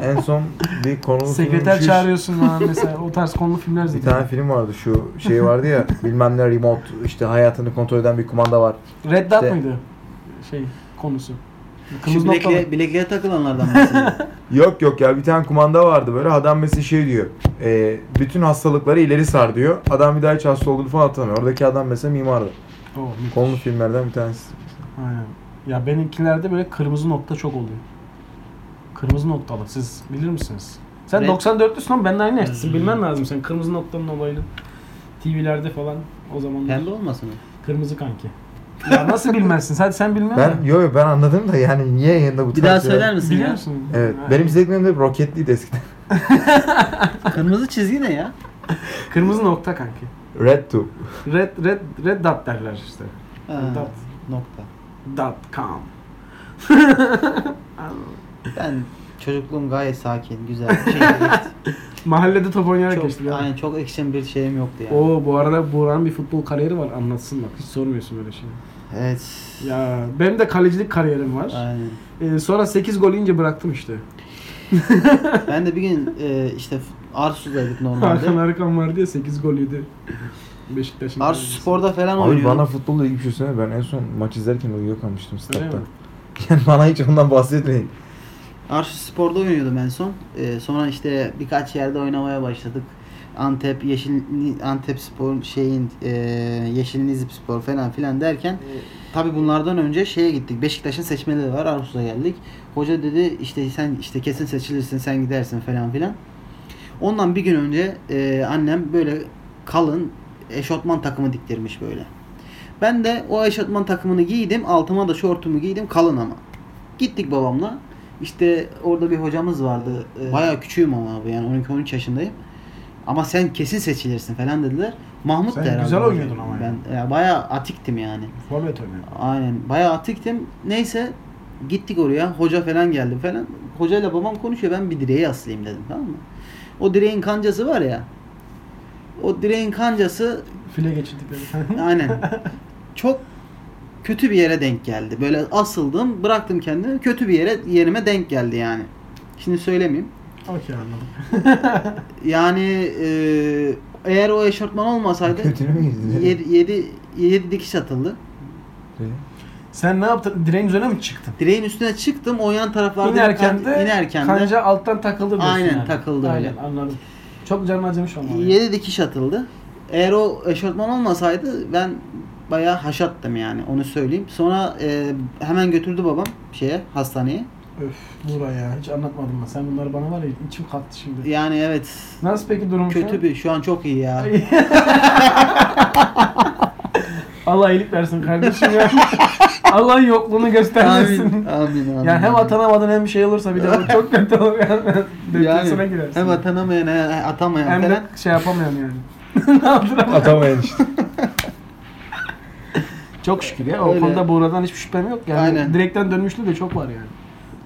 Speaker 1: en son bir konu
Speaker 3: Sekreter çağırıyorsun falan mesela o tarz konulu filmler
Speaker 1: Bir tane
Speaker 3: izliyoruz.
Speaker 1: film vardı şu şey vardı ya bilmem ne remote işte hayatını kontrol eden bir kumanda var.
Speaker 3: Red Dot
Speaker 1: İşte-
Speaker 3: mıydı? Şey konusu.
Speaker 2: Şu
Speaker 3: Kırmızı noktalı.
Speaker 2: bilekliğe, bilekliğe takılanlardan bahsediyorum.
Speaker 1: Yok yok ya bir tane kumanda vardı böyle adam mesela şey diyor e, bütün hastalıkları ileri sar diyor. Adam bir daha hiç hasta olduğunu falan hatırlamıyor. Oradaki adam mesela mimardı.
Speaker 3: Oo, müthiş.
Speaker 1: Konulu filmlerden bir tanesi.
Speaker 3: Aynen. Ya benimkilerde böyle kırmızı nokta çok oluyor. Kırmızı noktalı. Siz bilir misiniz? Sen
Speaker 2: Red- Hmm.
Speaker 3: 94'lüsün ama benden aynı yaştasın. Bilmen lazım sen kırmızı noktanın olayını. TV'lerde falan o zamanlar.
Speaker 2: Pembe olmasın o.
Speaker 3: Kırmızı kanki. Ya nasıl bilmezsin? Sen sen bilmiyorsun.
Speaker 1: Ben yo yo ben anladım da yani niye yayında bu
Speaker 2: Bir daha
Speaker 1: tarz şeyler-
Speaker 2: söyler misin
Speaker 3: Biliyor
Speaker 2: ya?
Speaker 3: musun?
Speaker 1: Evet
Speaker 3: Ha.
Speaker 1: benim zevklerim de roketliydi eskiden.
Speaker 2: Kırmızı çizgi ne ya?
Speaker 3: Kırmızı nokta kanki.
Speaker 1: Red Tube.
Speaker 3: Red red red dot derler işte.
Speaker 2: Ha,
Speaker 3: Dot.
Speaker 2: nokta.
Speaker 3: Dot com.
Speaker 2: Ben çocukluğum gayet sakin, güzel. bir şekilde geçti.
Speaker 3: Mahallede top oynayarak geçti.
Speaker 2: çok, aynen çok ekşim bir şeyim yoktu yani.
Speaker 3: Oo bu arada Buğra'nın bir futbol kariyeri var anlatsın bak hiç sormuyorsun böyle şey.
Speaker 2: Evet.
Speaker 3: Ya benim de kalecilik kariyerim var.
Speaker 2: Aynen.
Speaker 3: Ee, sonra 8 gol yiyince bıraktım işte.
Speaker 2: Ben de bir gün e, işte Arsu'daydık
Speaker 3: Hakan
Speaker 2: normalde.
Speaker 3: Arkan var diye 8 gol yedi. Beşiktaş'ın.
Speaker 2: Arsu Spor'da falan
Speaker 1: Abi
Speaker 2: oynuyordum.
Speaker 1: bana futbolla ilgili bir şey söyleme. Ben en son maç izlerken uyuyakalmıştım
Speaker 3: Öyle
Speaker 1: statta.
Speaker 3: mi?
Speaker 1: Yani bana hiç ondan bahsetmeyin.
Speaker 2: Arsu Spor'da oynuyordum en son. Ee, sonra işte birkaç yerde oynamaya başladık. Antep, Yeşil Antep Spor şeyin e, Yeşil Nizip Spor falan filan derken tabi bunlardan önce şeye gittik. Beşiktaş'ın seçmeleri var. Arsus'a geldik. Hoca dedi işte sen işte kesin seçilirsin sen gidersin falan filan. Ondan bir gün önce e, annem böyle kalın eşofman takımı diktirmiş böyle. Ben de o eşofman takımını giydim. Altıma da şortumu giydim. Kalın ama. Gittik babamla. İşte orada bir hocamız vardı. Ee, Bayağı küçüğüm ama abi yani 12-13 yaşındayım. Ama sen kesin seçilirsin falan dediler. Mahmut
Speaker 5: Sen
Speaker 2: da herhalde.
Speaker 5: güzel
Speaker 2: hocam.
Speaker 5: oynuyordun ama yani.
Speaker 2: Ben ya bayağı atiktim yani.
Speaker 5: Forvet oynuyordu.
Speaker 2: Aynen. Bayağı atiktim. Neyse gittik oraya. Hoca falan geldi falan. Hocayla babam konuşuyor. Ben bir direğe aslayayım dedim tamam mı? O direğin kancası var ya. O direğin kancası
Speaker 3: File geçirdikleri.
Speaker 2: Aynen. Çok kötü bir yere denk geldi. Böyle asıldım, bıraktım kendimi. Kötü bir yere yerime denk geldi yani. Şimdi söylemeyeyim.
Speaker 5: Okey anladım.
Speaker 2: Yani e, eğer o eşortman olmasaydı
Speaker 1: Götüne mi girdin?
Speaker 2: 7 7 7 dikiş atıldı.
Speaker 3: Sen ne yaptın? Direğin üzerine mi çıktın?
Speaker 2: Direğin üstüne çıktım. O yan taraflarda
Speaker 3: İnerken
Speaker 2: bir
Speaker 3: de,
Speaker 2: kan- inerken de
Speaker 3: kanca alttan takıldı diyorsun
Speaker 2: Aynen,
Speaker 3: yani.
Speaker 2: takıldı
Speaker 3: Aynen
Speaker 2: öyle.
Speaker 3: anladım. Çok canım acımış ama. yani.
Speaker 2: 7 dikiş atıldı. Eğer o eşortman olmasaydı ben bayağı haşattım yani onu söyleyeyim. Sonra e, hemen götürdü babam şeye hastaneye.
Speaker 5: Öf Buğra ya.
Speaker 3: Hiç anlatmadım ben. Sen bunları bana var ya içim kalktı şimdi.
Speaker 2: Yani evet
Speaker 3: Nasıl peki durum şu
Speaker 2: kötü
Speaker 3: an?
Speaker 2: bir şu an çok iyi ya.
Speaker 3: Allah iyilik versin kardeşim ya. Allah yokluğunu göstermesin.
Speaker 2: Amin, amin, amin.
Speaker 3: Yani hem atanamadın hem şey olursa bir de bu çok kötü olur yani. Depresyona girersin.
Speaker 2: Hem atanamayan, he- atamayan
Speaker 3: Hem de
Speaker 2: falan.
Speaker 3: şey yapamayan yani. ne yaptıramam.
Speaker 1: Atamayın işte.
Speaker 3: Çok şükür ya. O
Speaker 2: Öyle.
Speaker 3: konuda Buğra'dan hiçbir şüphem yok. Yani
Speaker 2: Aynen.
Speaker 3: direkten dönmüşlüğü de çok var yani.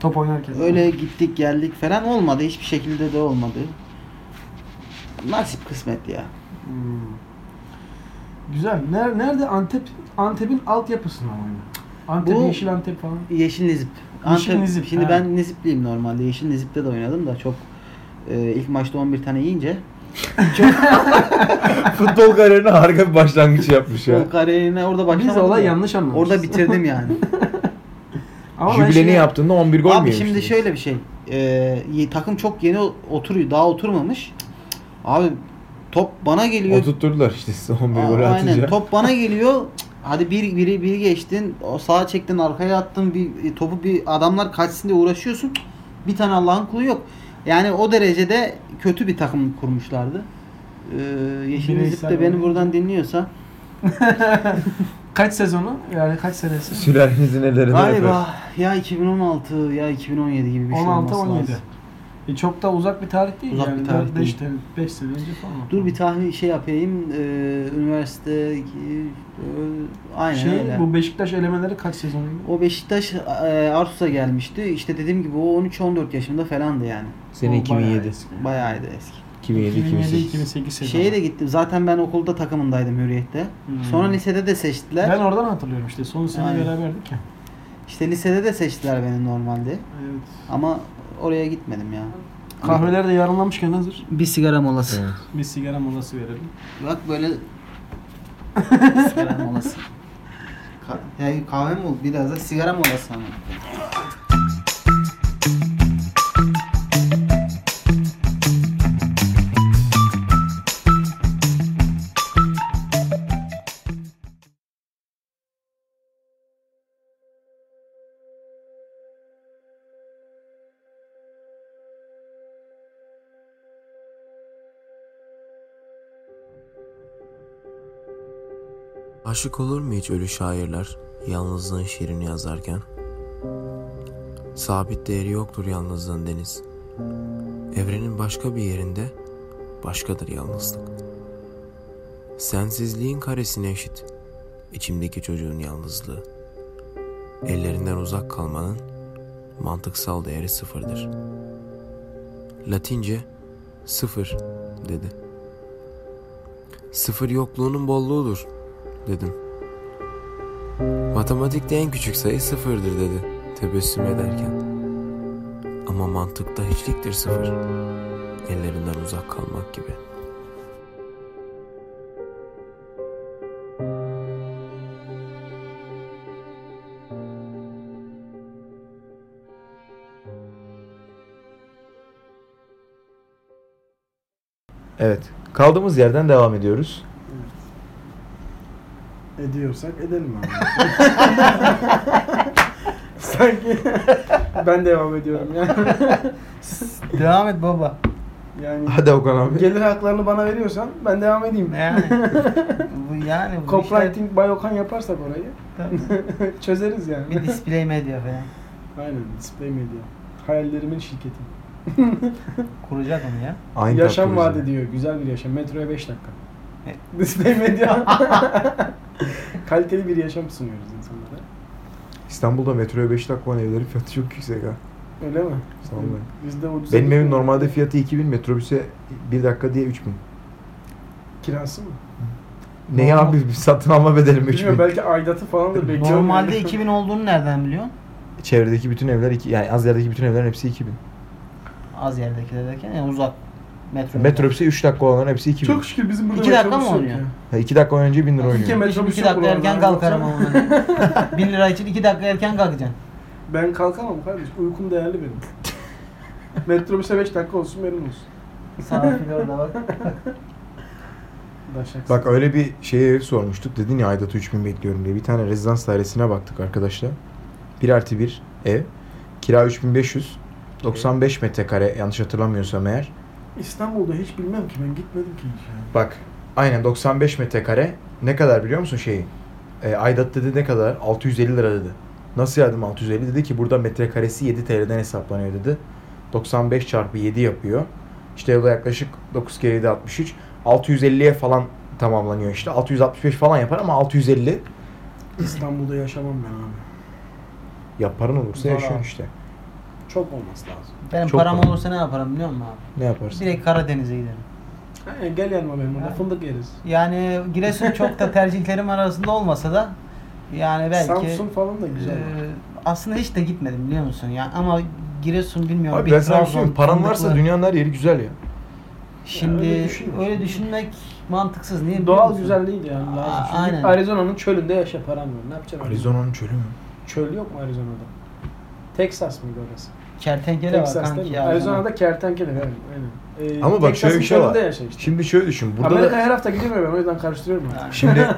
Speaker 3: Top oynarken.
Speaker 2: Öyle gittik geldik falan olmadı. Hiçbir şekilde de olmadı. Nasip kısmet ya.
Speaker 3: Hmm. Güzel. Ner- nerede Antep? Antep'in altyapısına oyna. Antep,
Speaker 2: Bu-
Speaker 3: Yeşil Antep falan.
Speaker 2: Yeşil Nizip.
Speaker 3: Yeşil Nizip,
Speaker 2: Şimdi
Speaker 3: ha.
Speaker 2: ben Nizipliyim normalde. Yeşil Nizip'te de oynadım da çok e, ilk maçta 11 tane yiyince
Speaker 1: Futbol kariyerine harika bir başlangıç yapmış ya.
Speaker 2: o kariyerine orada başlamadım.
Speaker 3: Biz olay
Speaker 2: da.
Speaker 3: yanlış anlamışız.
Speaker 2: Orada bitirdim yani.
Speaker 3: Ama ben
Speaker 1: Jübileni
Speaker 3: şimdi-
Speaker 1: yaptığında 11 gol mü
Speaker 2: Abi
Speaker 1: yemiştin?
Speaker 2: şimdi şöyle bir şey. Ee, ye- takım çok yeni o- oturuyor. Daha oturmamış. Abi top bana geliyor.
Speaker 1: O tutturdular işte size 11
Speaker 2: şey- Aa,
Speaker 1: gol atınca.
Speaker 2: Aynen. Top bana geliyor. Cık, Hadi bir biri biri geçtin. O sağa çektin, arkaya attın. Bir e, topu bir adamlar kaçsın diye uğraşıyorsun. Cık, Bir tane Allah'ın kulu yok. Yani o derecede kötü bir takım kurmuşlardı. Ee, Yeşil
Speaker 3: Bireysel
Speaker 2: Nezip de beni
Speaker 3: olarak.
Speaker 2: buradan dinliyorsa.
Speaker 3: Kaç sezonu? Yani kaç senesi?
Speaker 1: Sülalenizin ellerinde
Speaker 2: Galiba
Speaker 1: öper.
Speaker 2: ya 2016 ya 2017 gibi bir şey
Speaker 3: 16
Speaker 2: olması
Speaker 3: 17.
Speaker 2: lazım.
Speaker 3: E çok da uzak bir tarih değil
Speaker 2: Uzak
Speaker 3: yani.
Speaker 2: bir tarih
Speaker 3: 5 sene, 5 sene önce falan.
Speaker 2: Dur bir tahmin şey yapayım. Ee, üniversite e, aynen
Speaker 3: şey,
Speaker 2: öyle.
Speaker 3: bu Beşiktaş elemeleri kaç sezonuydu?
Speaker 2: O Beşiktaş e, Arsus'a gelmişti. İşte dediğim gibi o 13-14 yaşında falandı yani.
Speaker 1: Sene
Speaker 3: O bayağı
Speaker 1: 2007.
Speaker 3: eski.
Speaker 2: Bayağıydı eski.
Speaker 1: 2007 2008.
Speaker 3: 2007-2008 sezonu.
Speaker 2: Şeye de gittim. Zaten ben okulda takımındaydım Hürriyet'te.
Speaker 3: Hmm.
Speaker 2: Sonra lisede de seçtiler.
Speaker 3: Ben oradan hatırlıyorum işte. Son sene
Speaker 2: Aynen.
Speaker 3: beraberdik ya.
Speaker 2: İşte lisede de seçtiler beni normalde.
Speaker 3: Evet.
Speaker 2: Ama oraya gitmedim ya.
Speaker 3: Kahveler de yarınlanmışken hazır.
Speaker 2: Bir sigara molası.
Speaker 1: Evet.
Speaker 3: Bir sigara molası verelim.
Speaker 2: Bak böyle sigara molası. Ka- ya kahve mi oldu? Biraz da sigara molası ama.
Speaker 6: Aşık olur mu hiç ölü şairler yalnızlığın şiirini yazarken? Sabit değeri yoktur yalnızlığın deniz. Evrenin başka bir yerinde başkadır yalnızlık. Sensizliğin karesine eşit içimdeki çocuğun yalnızlığı. Ellerinden uzak kalmanın mantıksal değeri sıfırdır. Latince sıfır dedi. Sıfır yokluğunun bolluğudur dedim. Matematikte en küçük sayı sıfırdır dedi tebessüm ederken. Ama mantıkta hiçliktir sıfır. Ellerinden uzak kalmak gibi.
Speaker 1: Evet. Kaldığımız yerden devam ediyoruz.
Speaker 7: Ediyorsak edelim abi. Sanki ben devam ediyorum yani.
Speaker 2: Devam et baba.
Speaker 7: yani
Speaker 1: Hadi Okan abi.
Speaker 7: gelir haklarını bana veriyorsan ben devam edeyim.
Speaker 2: Yani. bu yani bu işler-
Speaker 7: Copywriting by Okan yaparsak orayı çözeriz yani.
Speaker 2: bir display medya falan.
Speaker 7: Aynen display medya. Hayallerimin şirketi.
Speaker 2: Kuracak onu ya.
Speaker 1: Aynı
Speaker 7: yaşam
Speaker 1: tatlı
Speaker 7: vaat
Speaker 1: bizim.
Speaker 7: ediyor. Güzel bir yaşam. Metroya 5 dakika.
Speaker 2: Evet.
Speaker 7: Display medya. Kaliteli bir yaşam sunuyoruz insanlara.
Speaker 1: İstanbul'da metroya 5 dakika olan evlerin fiyatı çok yüksek ha.
Speaker 7: Öyle mi?
Speaker 1: Sanmıyorum.
Speaker 7: Bizde ucuz.
Speaker 1: Benim evim normalde fiyatı 2000, metrobüse 1 dakika diye 3000.
Speaker 7: kirası mı?
Speaker 1: Ne ya abi biz satın alma bedelim 3000.
Speaker 7: Bilmiyorum belki aidatı falan da bekliyor.
Speaker 2: Normalde 2000 olduğunu nereden biliyorsun?
Speaker 1: Çevredeki bütün evler iki, yani az yerdeki bütün evlerin hepsi 2000.
Speaker 2: Az yerdekiler derken yani uzak. Metro.
Speaker 1: Metrobüse 3 dakika olanların hepsi 2000.
Speaker 7: Çok şükür bizim burada
Speaker 2: İki dakika
Speaker 7: metrobüs
Speaker 2: mı
Speaker 7: yok
Speaker 2: oynuyor?
Speaker 7: ya.
Speaker 1: Ha, 2 dakika önce 1000 lira
Speaker 7: İki
Speaker 1: oynuyor.
Speaker 7: kere-
Speaker 2: Metrobüs
Speaker 7: Metrobüs
Speaker 2: 2 dakika
Speaker 7: yok
Speaker 2: erken
Speaker 7: oradan,
Speaker 2: kalkarım ama.
Speaker 7: yoksa-
Speaker 2: 1 lira için 2 dakika erken kalkacaksın.
Speaker 7: Ben kalkamam kardeşim. Uykum değerli benim. Metrobüse 5 dakika olsun benim olsun.
Speaker 2: Sana fil orada bak.
Speaker 7: Daşak.
Speaker 1: Bak öyle bir şeye ev sormuştuk. Dedin ya aidatı 3000 bekliyorum diye. Bir tane rezidans dairesine baktık arkadaşlar. 1 artı 1 ev. Kira 3500. 95 metrekare yanlış hatırlamıyorsam eğer.
Speaker 7: İstanbul'da hiç bilmem ki ben gitmedim ki hiç yani.
Speaker 1: Bak aynen 95 metrekare ne kadar biliyor musun şeyi? E, Aydat dedi ne kadar? 650 lira dedi. Nasıl yardım 650 dedi ki burada metrekaresi 7 TL'den hesaplanıyor dedi. 95 çarpı 7 yapıyor. İşte o da yaklaşık 9 kere 7 63. 650'ye falan tamamlanıyor işte. 665 falan yapar ama 650
Speaker 7: İstanbul'da yaşamam ben abi.
Speaker 1: yaparın olursa
Speaker 7: Valla.
Speaker 1: yaşıyorsun işte.
Speaker 7: Çok olması lazım.
Speaker 2: Benim
Speaker 1: Çok
Speaker 2: param
Speaker 1: pahalı.
Speaker 2: olursa ne yaparım biliyor musun abi?
Speaker 1: Ne yaparsın?
Speaker 2: Direkt Karadeniz'e giderim.
Speaker 7: Ha, gel yanıma benim orada
Speaker 2: Ha.
Speaker 7: fındık yeriz.
Speaker 2: Yani Giresun çok da tercihlerim arasında olmasa da yani belki
Speaker 7: Samsun falan da
Speaker 2: e,
Speaker 7: güzel.
Speaker 2: aslında hiç de gitmedim biliyor musun? Yani ama Giresun bilmiyorum.
Speaker 1: Abi
Speaker 2: bir
Speaker 1: ben sana bir şey
Speaker 2: Trabzon,
Speaker 1: söyleyeyim. Paran varsa
Speaker 2: fındıklar.
Speaker 1: dünyanın her yeri güzel ya.
Speaker 2: Şimdi
Speaker 7: Öyle
Speaker 2: öyle,
Speaker 7: düşünme.
Speaker 2: düşünmek mantıksız. Niye? biliyor
Speaker 7: Doğal
Speaker 2: musun?
Speaker 7: güzel değil yani.
Speaker 2: Aa,
Speaker 7: Lazım. Çünkü
Speaker 2: aynen.
Speaker 7: Arizona'nın çölünde yaşa param var. Ne yapacaksın?
Speaker 1: Arizona'nın çölü mü?
Speaker 7: Çöl yok mu Arizona'da? Texas mıydı orası?
Speaker 2: Kertenkele var
Speaker 7: Texas
Speaker 2: kanki.
Speaker 7: değil mi?
Speaker 2: ya.
Speaker 7: Arizona'da kertenkele. evet, Aynen. Ee,
Speaker 1: Ama bak şöyle
Speaker 7: Texas'ın
Speaker 1: bir şey var.
Speaker 7: çölünde yaşa işte.
Speaker 1: Şimdi şöyle düşün. Burada da-
Speaker 7: Amerika her hafta gidiyorum ya ben o yüzden karıştırıyorum. artık.
Speaker 1: Şimdi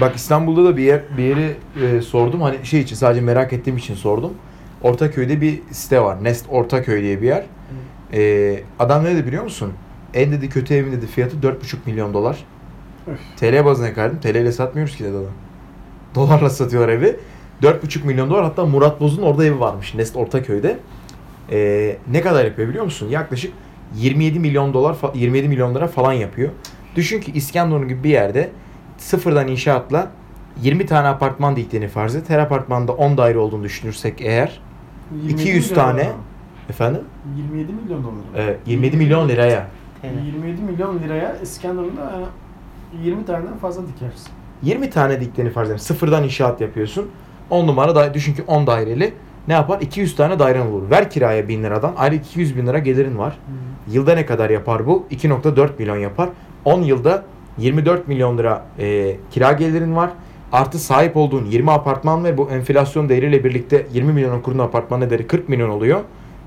Speaker 1: bak İstanbul'da da bir yer bir yeri e, sordum hani şey için sadece merak ettiğim için sordum. Ortaköy'de bir site var. Nest Ortaköy diye bir yer. E, adam ne dedi biliyor musun? En dedi kötü evin dedi fiyatı 4,5 milyon dolar.
Speaker 7: Öf.
Speaker 1: TL bazına kaydım. TL ile satmıyoruz ki dedi adam. Dolarla satıyor evi. 4,5 milyon dolar. Hatta Murat Boz'un orada evi varmış. Nest Ortaköy'de. E, ne kadar yapıyor biliyor musun? Yaklaşık 27 milyon dolar fa- 27 milyon lira falan yapıyor. Düşün ki İskenderun gibi bir yerde sıfırdan inşaatla 20 tane apartman diktiğini farz et. Her apartmanda 10 daire olduğunu düşünürsek eğer
Speaker 7: 27
Speaker 1: 200
Speaker 7: milyon
Speaker 1: tane.
Speaker 7: dolar.
Speaker 1: efendim
Speaker 7: 27 milyon dolar.
Speaker 1: e, 27 milyon liraya
Speaker 2: Tele.
Speaker 7: 27 milyon liraya İskenderun'da e, 20 taneden fazla dikersin.
Speaker 1: 20 tane diktiğini farz et. Sıfırdan inşaat yapıyorsun. 10 numara da düşün ki 10 daireli ne yapar? 200 tane dairen olur. Ver kiraya 1000 liradan. Ayrı 200 bin lira gelirin var. Yılda ne kadar yapar bu? 2.4 milyon yapar. 10 yılda 24 milyon lira e, kira gelirin var. Artı sahip olduğun 20 apartman ve bu enflasyon değeriyle birlikte 20 milyonun kurduğun apartman değeri 40 milyon oluyor.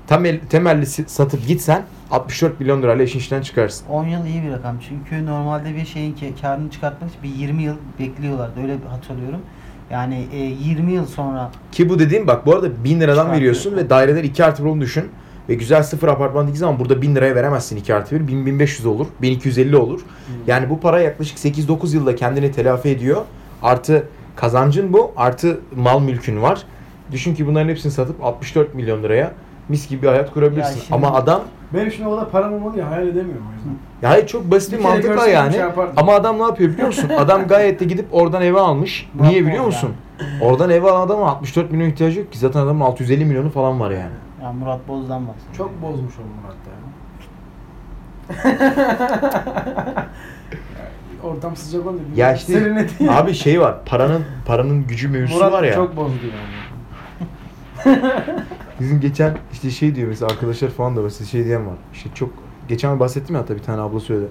Speaker 1: Temel, temelli si- satıp gitsen 64 milyon lirayla işin içinden çıkarsın.
Speaker 2: 10 yıl iyi bir rakam. Çünkü normalde bir şeyin ke- karını çıkartmak için bir 20 yıl bekliyorlardı. Öyle hatırlıyorum. Yani e, 20 yıl sonra
Speaker 1: Ki bu dediğim bak bu arada 1000 liradan
Speaker 2: Çıkartıyor.
Speaker 1: veriyorsun ve daireler 2 artı 1 düşün. Ve güzel sıfır apartman diktiği zaman burada 1000 liraya veremezsin 2 artı 1. 1000, 1500 olur. 1250 olur.
Speaker 2: Hmm.
Speaker 1: Yani bu para yaklaşık 8-9 yılda kendini telafi ediyor. Artı kazancın bu. Artı mal mülkün var. Düşün ki bunların hepsini satıp 64 milyon liraya mis gibi bir hayat kurabilirsin.
Speaker 2: Ya şimdi-
Speaker 1: Ama adam
Speaker 7: Benim şimdi o kadar param olmadı ya hayal edemiyorum o yüzden.
Speaker 1: ya hayır, çok basit bir,
Speaker 7: Bir kere
Speaker 1: mantıkla
Speaker 7: görsem
Speaker 1: yani.
Speaker 7: şey yapardım.
Speaker 1: Ama adam ne yapıyor biliyor musun? Adam gayet de gidip oradan eve almış.
Speaker 2: Murat
Speaker 1: Niye
Speaker 2: Bol
Speaker 1: biliyor
Speaker 2: yani.
Speaker 1: musun? Oradan eve alan adama 64 milyon ihtiyacı yok ki. Zaten adamın 650 milyonu falan var yani.
Speaker 2: yani Murat Boz'dan bahsediyor.
Speaker 7: Çok bozmuş oldum hatta ya. Ortam sıcak oldu.
Speaker 1: Ya işte
Speaker 7: Serinledi.
Speaker 1: abi şey var. Paranın paranın gücü mevzusu
Speaker 7: Murat
Speaker 1: var ya.
Speaker 7: çok bozdu yani.
Speaker 1: Bizim geçen işte şey diyor mesela arkadaşlar falan da mesela şey diyen var. İşte çok geçen bahsettim ya hatta bir tane abla söyledi.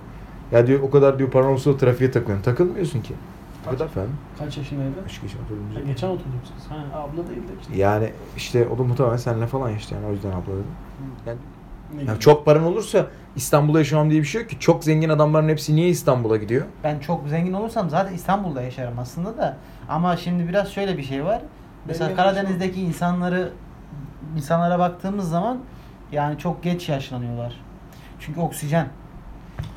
Speaker 1: Ya diyor o kadar diyor paran olsa da trafiğe takılıyorsun. Takılmıyorsun ki. O kadar efendim.
Speaker 7: Kaç yaşındaydı?
Speaker 1: Aşk geçen oturdum.
Speaker 7: Ha, geçen oturdum siz. Ha, abla değil de işte.
Speaker 1: Yani işte o da muhtemelen seninle falan işte yani o yüzden abla dedim. Yani Ya çok paran olursa İstanbul'da yaşamam diye bir şey yok ki. Çok zengin adamların hepsi niye İstanbul'a gidiyor?
Speaker 2: Ben çok zengin olursam zaten İstanbul'da yaşarım aslında da. Ama şimdi biraz şöyle bir şey var. Mesela
Speaker 7: Benim
Speaker 2: Karadeniz'deki insanları insanlara baktığımız zaman yani çok geç yaşlanıyorlar. Çünkü oksijen.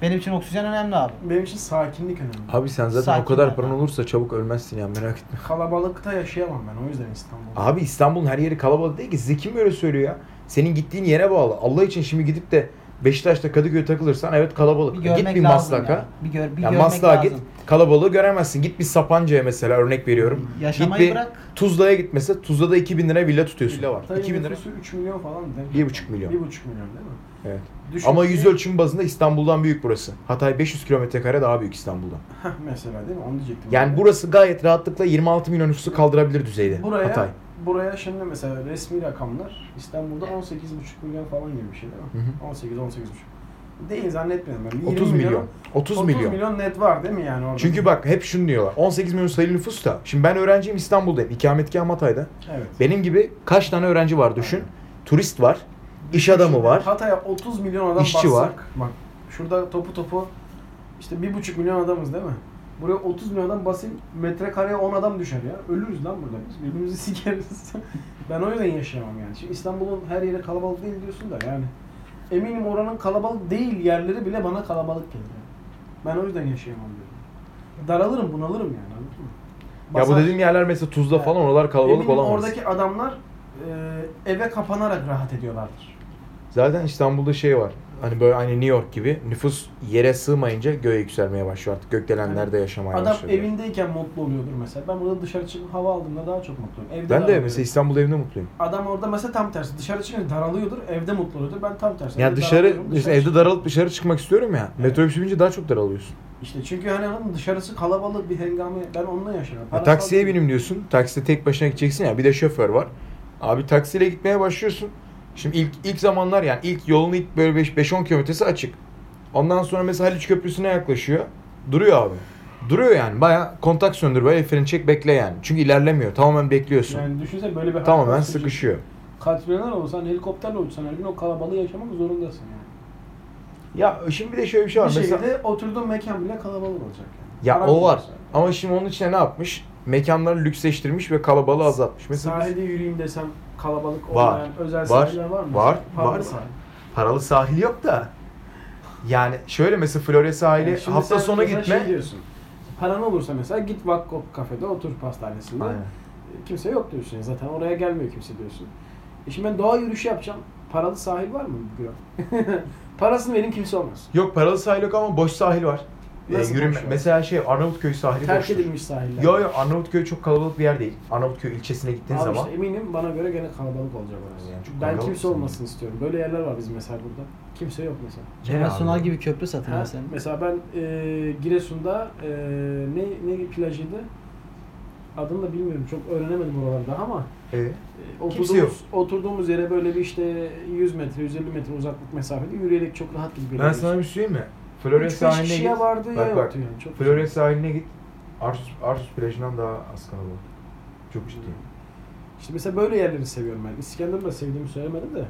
Speaker 2: Benim için oksijen önemli abi.
Speaker 7: Benim için sakinlik önemli.
Speaker 1: Abi sen zaten
Speaker 2: Sakin
Speaker 1: o kadar
Speaker 2: adam.
Speaker 1: paran olursa çabuk ölmezsin ya merak etme.
Speaker 7: Kalabalıkta yaşayamam ben o yüzden İstanbul'da.
Speaker 1: Abi İstanbul'un her yeri kalabalık değil ki. Size kim böyle söylüyor ya? Senin gittiğin yere bağlı. Allah için şimdi gidip de Beşiktaş'ta Kadıköy'e takılırsan evet
Speaker 2: Bir
Speaker 1: kalabalık.
Speaker 2: görmek
Speaker 1: git bir
Speaker 2: lazım
Speaker 1: Maslak'a.
Speaker 2: yani. Bir, gör, bir
Speaker 1: Ya
Speaker 2: görmek
Speaker 1: Maslak'a
Speaker 2: lazım.
Speaker 1: git kalabalığı göremezsin. Git bir Sapanca'ya mesela örnek veriyorum.
Speaker 2: Yaşamayı
Speaker 1: git bir
Speaker 2: bırak.
Speaker 1: Tuzla'ya git mesela. Tuzla'da 2000 lira villa tutuyorsun.
Speaker 8: Villa var.
Speaker 7: Tabii
Speaker 1: 2000 lira.
Speaker 7: nüfusu 3 milyon falan değil mi?
Speaker 1: 1,5 milyon.
Speaker 7: 1,5 milyon değil mi?
Speaker 1: Evet.
Speaker 7: Düşün
Speaker 1: Ama
Speaker 7: ki-
Speaker 1: yüz ölçümü bazında İstanbul'dan büyük burası. Hatay 500 kilometre kare daha büyük İstanbul'dan.
Speaker 7: Heh, mesela değil mi? Onu diyecektim.
Speaker 1: Yani burası gayet rahatlıkla 26 milyon nüfusu kaldırabilir düzeyde.
Speaker 7: Buraya,
Speaker 1: Hatay.
Speaker 7: buraya şimdi mesela resmi rakamlar İstanbul'da 18,5 milyon falan gibi bir şey değil mi? 18-18,5. Değil zannetmiyorum ben. 20
Speaker 1: 30 milyon. 30,
Speaker 7: 30 milyon.
Speaker 1: milyon.
Speaker 7: net var değil mi yani orada?
Speaker 1: Çünkü bak hep şunu diyorlar. 18 milyon sayılı nüfus da. Şimdi ben öğrenciyim İstanbul'dayım. İkametgahım Hatay'da.
Speaker 7: Evet.
Speaker 1: Benim gibi kaç tane öğrenci var düşün. Turist var. iş adamı var.
Speaker 7: Hatay'a 30 milyon adam
Speaker 1: İşçi
Speaker 7: bassak.
Speaker 1: var.
Speaker 7: Bak şurada topu topu işte 1,5 milyon adamız değil mi? Buraya 30 milyon adam basayım metrekareye 10 adam düşer ya. Ölürüz lan burada biz. Birbirimizi sikeriz. ben o yüzden yaşayamam yani. Şimdi İstanbul'un her yeri kalabalık değil diyorsun da yani. Eminim oranın kalabalık değil yerleri bile bana kalabalık geliyor. Ben o yüzden yaşayamam diyorum. Daralırım bunalırım yani anladın mı?
Speaker 1: Ya bu
Speaker 7: Basar.
Speaker 1: dediğim yerler mesela Tuzla falan oralar kalabalık
Speaker 7: Eminim
Speaker 1: olamaz.
Speaker 7: oradaki adamlar e, eve kapanarak rahat ediyorlardır.
Speaker 1: Zaten İstanbul'da şey var. Hani böyle hani New York gibi nüfus yere sığmayınca göğe yükselmeye başlıyor artık. Gökdelenlerde yaşamaya
Speaker 7: Adam
Speaker 1: başlıyor.
Speaker 7: evindeyken mutlu oluyordur mesela. Ben burada dışarı çıkıp hava aldığımda daha çok mutluyum. Evde
Speaker 1: Ben de
Speaker 7: darılıyorum.
Speaker 1: mesela İstanbul evinde mutluyum.
Speaker 7: Adam orada mesela tam tersi. Dışarı çıkınca daralıyordur, evde mutlu oluyordur. Ben tam tersi.
Speaker 1: Ya
Speaker 7: Evde
Speaker 1: dışarı,
Speaker 7: daralıyorum,
Speaker 1: işte
Speaker 7: dışarı
Speaker 1: evde
Speaker 7: çıkıyorum.
Speaker 1: daralıp dışarı çıkmak istiyorum ya.
Speaker 7: Evet.
Speaker 1: Metrobüs binince daha çok daralıyorsun.
Speaker 7: İşte çünkü hani adam dışarısı kalabalık bir hengame. Ben onunla yaşarım.
Speaker 1: Ya
Speaker 7: Parasal
Speaker 1: taksiye
Speaker 7: değil.
Speaker 1: binim diyorsun. Takside tek başına gideceksin ya. Bir de şoför var. Abi taksiyle gitmeye başlıyorsun. Şimdi ilk ilk zamanlar yani ilk yolun ilk böyle 5-10 kilometresi açık. Ondan sonra mesela Haliç Köprüsü'ne yaklaşıyor. Duruyor abi. Duruyor yani. Baya kontak söndür. Baya freni çek bekle yani. Çünkü ilerlemiyor. Tamamen bekliyorsun.
Speaker 7: Yani düşünsene böyle bir
Speaker 1: Tamamen
Speaker 7: hayat olsun.
Speaker 1: sıkışıyor.
Speaker 7: Katrilyoner olsan, hani helikopterle uçsan her gün o kalabalığı yaşamak zorundasın yani.
Speaker 1: Ya şimdi bir de şöyle bir şey var.
Speaker 7: bir
Speaker 1: mesela
Speaker 7: şekilde oturduğun mekan bile kalabalık olacak yani.
Speaker 1: ya
Speaker 7: Paran
Speaker 1: o var.
Speaker 7: yoksa.
Speaker 1: Ama şimdi onun içine ne yapmış? Mekanları lüksleştirmiş ve kalabalığı azaltmış. Mesela biz-
Speaker 7: Sahilde yürüyeyim desem kalabalık
Speaker 1: Var,
Speaker 7: olmayan özel
Speaker 1: var,
Speaker 7: sahiller var mı?
Speaker 1: var,
Speaker 7: Pahalı
Speaker 1: var.
Speaker 7: sahil.
Speaker 1: paralı sahil yok da. Yani şöyle mesela Florya sahili
Speaker 7: Yani şimdi
Speaker 1: hafta
Speaker 7: sen
Speaker 1: sonu
Speaker 7: mesela
Speaker 1: gitme.
Speaker 7: Şey diyorsun. Paran olursa mesela git Vakkop kafede otur pastanesinde. E,
Speaker 1: Aynen.
Speaker 7: Kimse yok diyorsun. ya, Zaten oraya gelmiyor kimse diyorsun. E şimdi ben doğa yürüyüşü yapacağım. Paralı sahil var mı bu Parasını Parasını vereyim kimse olmaz.
Speaker 1: Yok paralı sahil yok ama boş sahil var. Ee,
Speaker 7: Nasıl
Speaker 1: yürüme-
Speaker 7: boş var?
Speaker 1: Mesela şey Arnavutköy sahili
Speaker 7: Terk
Speaker 1: boştur.
Speaker 7: edilmiş sahiller.
Speaker 1: Yo yo Arnavutköy çok kalabalık bir yer değil. Arnavutköy ilçesine gittiğin
Speaker 7: Abi
Speaker 1: zaman.
Speaker 7: işte eminim bana göre gene kalabalık olacak orası.
Speaker 1: Yani çok
Speaker 7: ben
Speaker 1: kalabalık
Speaker 7: kimse
Speaker 1: sanırım.
Speaker 7: olmasını istiyorum. Böyle yerler var bizim mesela burada. Kimse yok mesela.
Speaker 2: Kemal Sunal
Speaker 1: abi.
Speaker 2: gibi köprü satın
Speaker 7: Ha,
Speaker 2: al sen.
Speaker 7: mesela ben e, Giresun'da e, ne ne plajıydı? Adını da bilmiyorum. Çok öğrenemedim oralarda ama
Speaker 1: Ee,
Speaker 7: E,
Speaker 1: Kimse yok.
Speaker 7: Oturduğumuz, oturduğumuz yere böyle bir işte 100 metre, 150 metre uzaklık mesafede yürüyerek çok rahat gibi
Speaker 1: ben sana bir şey söyleyeyim mi? Florya
Speaker 7: Flores
Speaker 1: sahiline
Speaker 7: kişiye
Speaker 1: git.
Speaker 7: vardı ya
Speaker 1: Bak, bak.
Speaker 7: yoktu yani. Çok
Speaker 1: Florya sahiline git. Arsus, Arsus plajından daha az kalabalık. Çok ciddiyim.
Speaker 7: İşte mesela böyle yerleri seviyorum ben. İskenderun'u da sevdiğimi söylemedim de.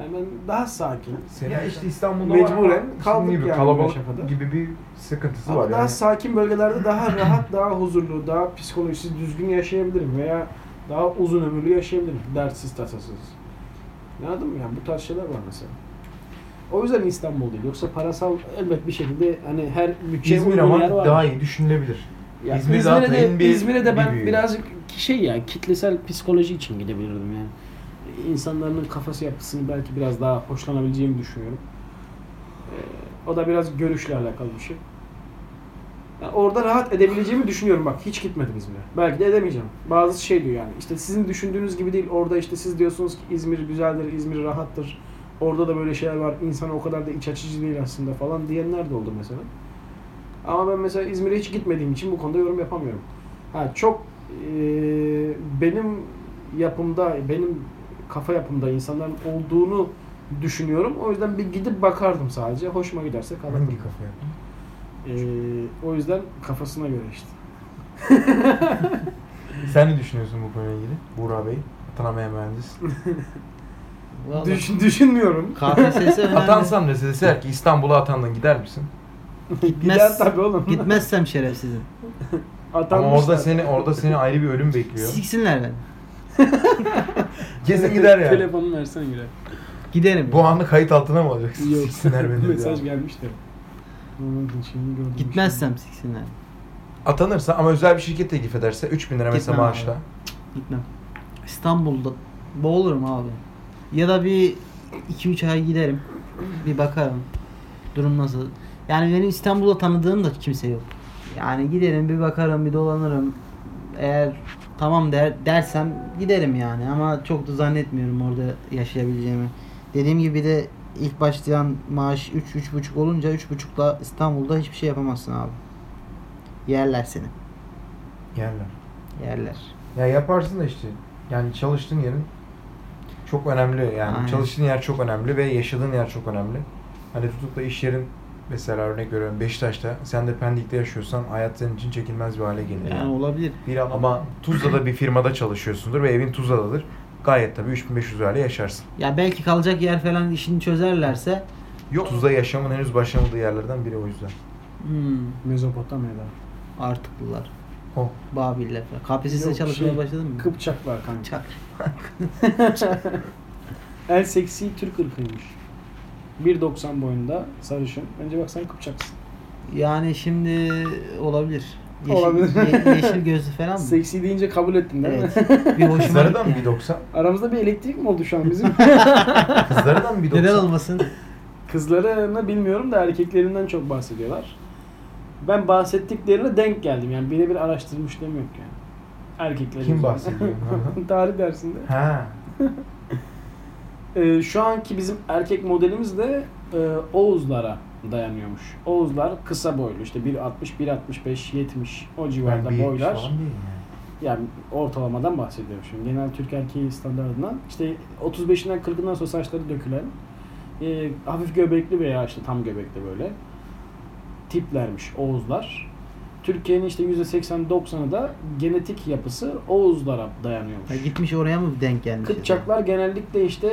Speaker 7: Yani ben daha sakin.
Speaker 1: ya işte İstanbul'da
Speaker 7: Mecburen
Speaker 1: var ama
Speaker 7: kaldık
Speaker 1: şimdi gibi,
Speaker 7: yani
Speaker 1: kalabalık
Speaker 7: Meşafa'da.
Speaker 1: gibi bir sıkıntısı
Speaker 7: Ama
Speaker 1: var
Speaker 7: daha
Speaker 1: yani.
Speaker 7: sakin bölgelerde daha rahat, daha huzurlu, daha psikolojisi düzgün yaşayabilirim veya daha uzun ömürlü yaşayabilirim. Dertsiz, tasasız. Anladın mı? Yani bu tarz şeyler var mesela. O yüzden İstanbul değil. Yoksa parasal elbet bir şekilde hani her bütçeye
Speaker 1: İzmir
Speaker 7: uygun
Speaker 1: şey ama
Speaker 7: yer var.
Speaker 1: daha iyi düşünülebilir.
Speaker 7: Ya
Speaker 1: İzmir
Speaker 9: İzmir'e
Speaker 1: zaten
Speaker 9: de,
Speaker 1: bir-
Speaker 9: İzmir'e de ben
Speaker 1: bir büyüğü.
Speaker 9: birazcık şey ya kitlesel psikoloji için gidebilirdim yani.
Speaker 7: insanların kafası yapısını belki biraz daha hoşlanabileceğimi düşünüyorum. Ee, o da biraz görüşle alakalı bir şey. Yani orada rahat edebileceğimi düşünüyorum bak hiç gitmedim İzmir'e. Belki de edemeyeceğim. Bazı şey diyor yani işte sizin düşündüğünüz gibi değil orada işte siz diyorsunuz ki İzmir güzeldir, İzmir rahattır. Orada da böyle şeyler var. İnsan o kadar da iç açıcı değil aslında falan diyenler de oldu mesela. Ama ben mesela İzmir'e hiç gitmediğim için bu konuda yorum yapamıyorum. Ha çok eee, benim yapımda, benim kafa yapımda insanların olduğunu düşünüyorum. O yüzden bir gidip bakardım sadece. Hoşuma giderse kalırdım.
Speaker 1: Hangi kafaya?
Speaker 7: Eee, o yüzden kafasına göre işte.
Speaker 1: Sen ne düşünüyorsun bu konuyla ilgili? Buğra Bey, Atanamayan mühendis.
Speaker 10: Vallahi.
Speaker 7: Düşün, düşünmüyorum.
Speaker 2: KPSS önemli.
Speaker 1: Atansan da deseler ki İstanbul'a atandın gider misin?
Speaker 7: Gider
Speaker 2: Gitmez.
Speaker 7: tabii oğlum.
Speaker 2: Gitmezsem şerefsizim.
Speaker 7: Atanmışlar.
Speaker 1: Ama orada seni orada seni ayrı bir ölüm bekliyor.
Speaker 2: Siksinler beni.
Speaker 1: Kesin gider yani.
Speaker 3: Telefonu versen girer.
Speaker 2: Giderim.
Speaker 1: Bu anı kayıt altına mı alacaksın?
Speaker 3: Yok.
Speaker 1: Siksinler beni dedi
Speaker 3: Mesaj
Speaker 1: ya.
Speaker 3: gelmiş de.
Speaker 7: Anladım, şimdi gördüm.
Speaker 2: Gitmezsem siksinler.
Speaker 1: Atanırsa ama özel bir şirket teklif ederse 3000 lira mesela
Speaker 2: Gitmem abi.
Speaker 1: maaşla.
Speaker 2: Gitmem. İstanbul'da boğulurum abi. Ya da bir 2-3 ay giderim. Bir bakarım. Durum nasıl? Yani benim İstanbul'da tanıdığım da kimse yok. Yani giderim bir bakarım bir dolanırım. Eğer tamam der, dersem giderim yani ama çok da zannetmiyorum orada yaşayabileceğimi. Dediğim gibi de ilk başlayan maaş 3-3,5 olunca 3,5'la İstanbul'da hiçbir şey yapamazsın abi. Yerler seni.
Speaker 1: Yerler.
Speaker 2: Yerler.
Speaker 1: Ya yaparsın da işte. Yani çalıştığın yerin çok önemli yani.
Speaker 2: Aynen.
Speaker 1: Çalıştığın yer çok önemli ve yaşadığın yer çok önemli. Hani tutup da iş yerin mesela örnek veriyorum Beşiktaş'ta sen de Pendik'te yaşıyorsan hayat senin için çekilmez bir hale gelir.
Speaker 2: Yani olabilir.
Speaker 1: Bir an- ama Tuzla'da bir firmada çalışıyorsundur ve evin Tuzla'dadır. Gayet tabii 3500 lirayla yaşarsın.
Speaker 2: Ya belki kalacak yer falan işini çözerlerse
Speaker 1: Yok. Tuzla yaşamın henüz başlamadığı yerlerden biri o yüzden.
Speaker 2: hmm,
Speaker 7: Mezopotamya'da.
Speaker 2: Artıklılar,
Speaker 1: O.
Speaker 2: Babiller falan. KPSS'de
Speaker 7: Yok,
Speaker 2: çalışmaya
Speaker 7: şey,
Speaker 2: başladın mı?
Speaker 7: Kıpçak var kanka.
Speaker 2: Çak.
Speaker 7: En seksi Türk ırkıymış. 1.90 boyunda sarışın. Önce bak sen Kıpçaksın.
Speaker 2: Yani şimdi olabilir. Yeşil,
Speaker 7: Olabilir.
Speaker 2: ye- yeşil gözlü falan mı?
Speaker 7: Seksi deyince kabul ettin değil mi?
Speaker 2: Evet. Bir hoşuma
Speaker 1: Kızları da mı
Speaker 2: gitti
Speaker 1: bir
Speaker 2: yani.
Speaker 1: 90?
Speaker 7: Aramızda bir elektrik mi oldu şu an bizim?
Speaker 1: Kızları da mı bir 90?
Speaker 2: Neden olmasın?
Speaker 7: Kızlarını bilmiyorum da erkeklerinden çok bahsediyorlar. Ben bahsettiklerine denk geldim. Yani birebir araştırmışlığım yok yani. Erkekler
Speaker 1: Kim
Speaker 7: üzerinde.
Speaker 1: bahsediyor?
Speaker 7: Tarih dersinde.
Speaker 1: ha.
Speaker 7: Ee, şu anki bizim erkek modelimiz de e, Oğuzlara dayanıyormuş. Oğuzlar kısa boylu işte 1.60, 1.65, 70 o civarda
Speaker 1: Ben bir şey
Speaker 7: boylar.
Speaker 1: falan değilim yani.
Speaker 7: Yani ortalamadan bahsediyorum şimdi. Genel Türk erkeği standartından. işte 35'inden 40'ından sonra saçları dökülen, e, hafif göbekli veya işte tam göbekli böyle tiplermiş Oğuzlar. Türkiye'nin işte %80-90'ı da genetik yapısı Oğuzlara dayanıyormuş.
Speaker 2: Ya gitmiş oraya mı denk gelmiş?
Speaker 7: Kıpçaklar genellikle işte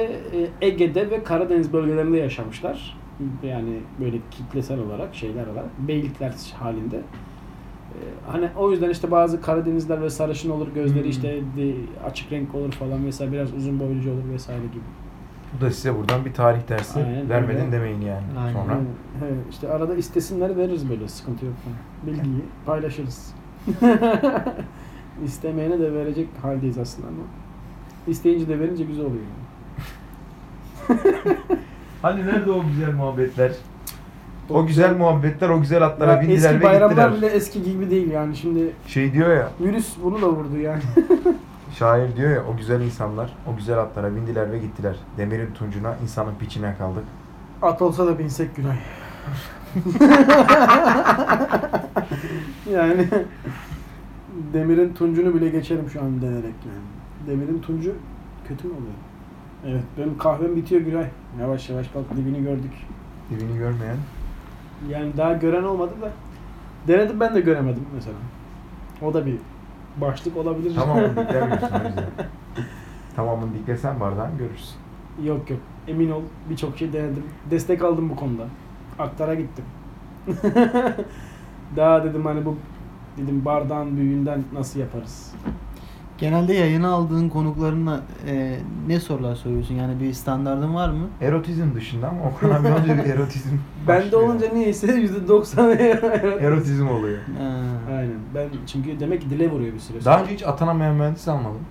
Speaker 7: e, Ege'de ve Karadeniz bölgelerinde yaşamışlar. Yani böyle kitlesel olarak şeyler olarak beylikler halinde. E, Hani o yüzden işte bazı Karadenizler ve sarışın olur gözleri
Speaker 2: Hmm.
Speaker 7: işte de- açık renk olur falan vesaire biraz uzun boyluca olur vesaire gibi.
Speaker 1: Bu da size buradan bir tarih dersi
Speaker 7: Aynen,
Speaker 1: vermedin
Speaker 7: öyle.
Speaker 1: demeyin yani
Speaker 2: Aynen.
Speaker 1: sonra.
Speaker 7: Yani, he, işte arada istesinler veririz böyle sıkıntı yok. falan. Bilgiyi paylaşırız. İstemeyene de verecek haldeyiz aslında ama isteyince de verince güzel oluyor. yani.
Speaker 1: Hani nerede o güzel muhabbetler? O güzel muhabbetler, o güzel atlara
Speaker 7: Ya
Speaker 1: bindiler
Speaker 7: eski
Speaker 1: ve gittiler.
Speaker 7: bayramlar bile eski gibi değil yani şimdi
Speaker 1: Şey diyor ya,
Speaker 7: virüs bunu da vurdu yani.
Speaker 1: şair diyor ya, o güzel insanlar, o güzel atlara bindiler ve gittiler. Demirin tuncuna, insanın piçine kaldık.
Speaker 7: At olsa da binsek günah. yani demirin tuncunu bile geçerim şu an denerek yani. Demirin tuncu kötü mü oluyor? Evet benim kahvem bitiyor Güray. Yavaş yavaş bak dibini gördük.
Speaker 1: Dibini görmeyen.
Speaker 7: Yani daha gören olmadı da denedim ben de göremedim mesela. O da bir başlık olabilir.
Speaker 1: Tamamını diklemiyorsun o yüzden. Tamamını diklesen bardağın görürsün.
Speaker 7: Yok yok. Emin ol birçok şey denedim. Destek aldım bu konuda. Aktara gittim. Daha dedim hani bu dedim bardağın büyüğünden nasıl yaparız?
Speaker 2: Genelde yayına aldığın konuklarına e, ne sorular soruyorsun? Yani bir standardın var mı?
Speaker 1: Erotizm dışında ama Okan abi önce bir erotizm
Speaker 7: Bende
Speaker 1: başlıyor.
Speaker 7: olunca niyeyse %90
Speaker 1: Erotizm oluyor.
Speaker 2: Ha.
Speaker 7: Aynen. Ben çünkü demek ki dile vuruyor bir süre. sonra.
Speaker 1: Daha önce hiç atanamayan mühendis almadım.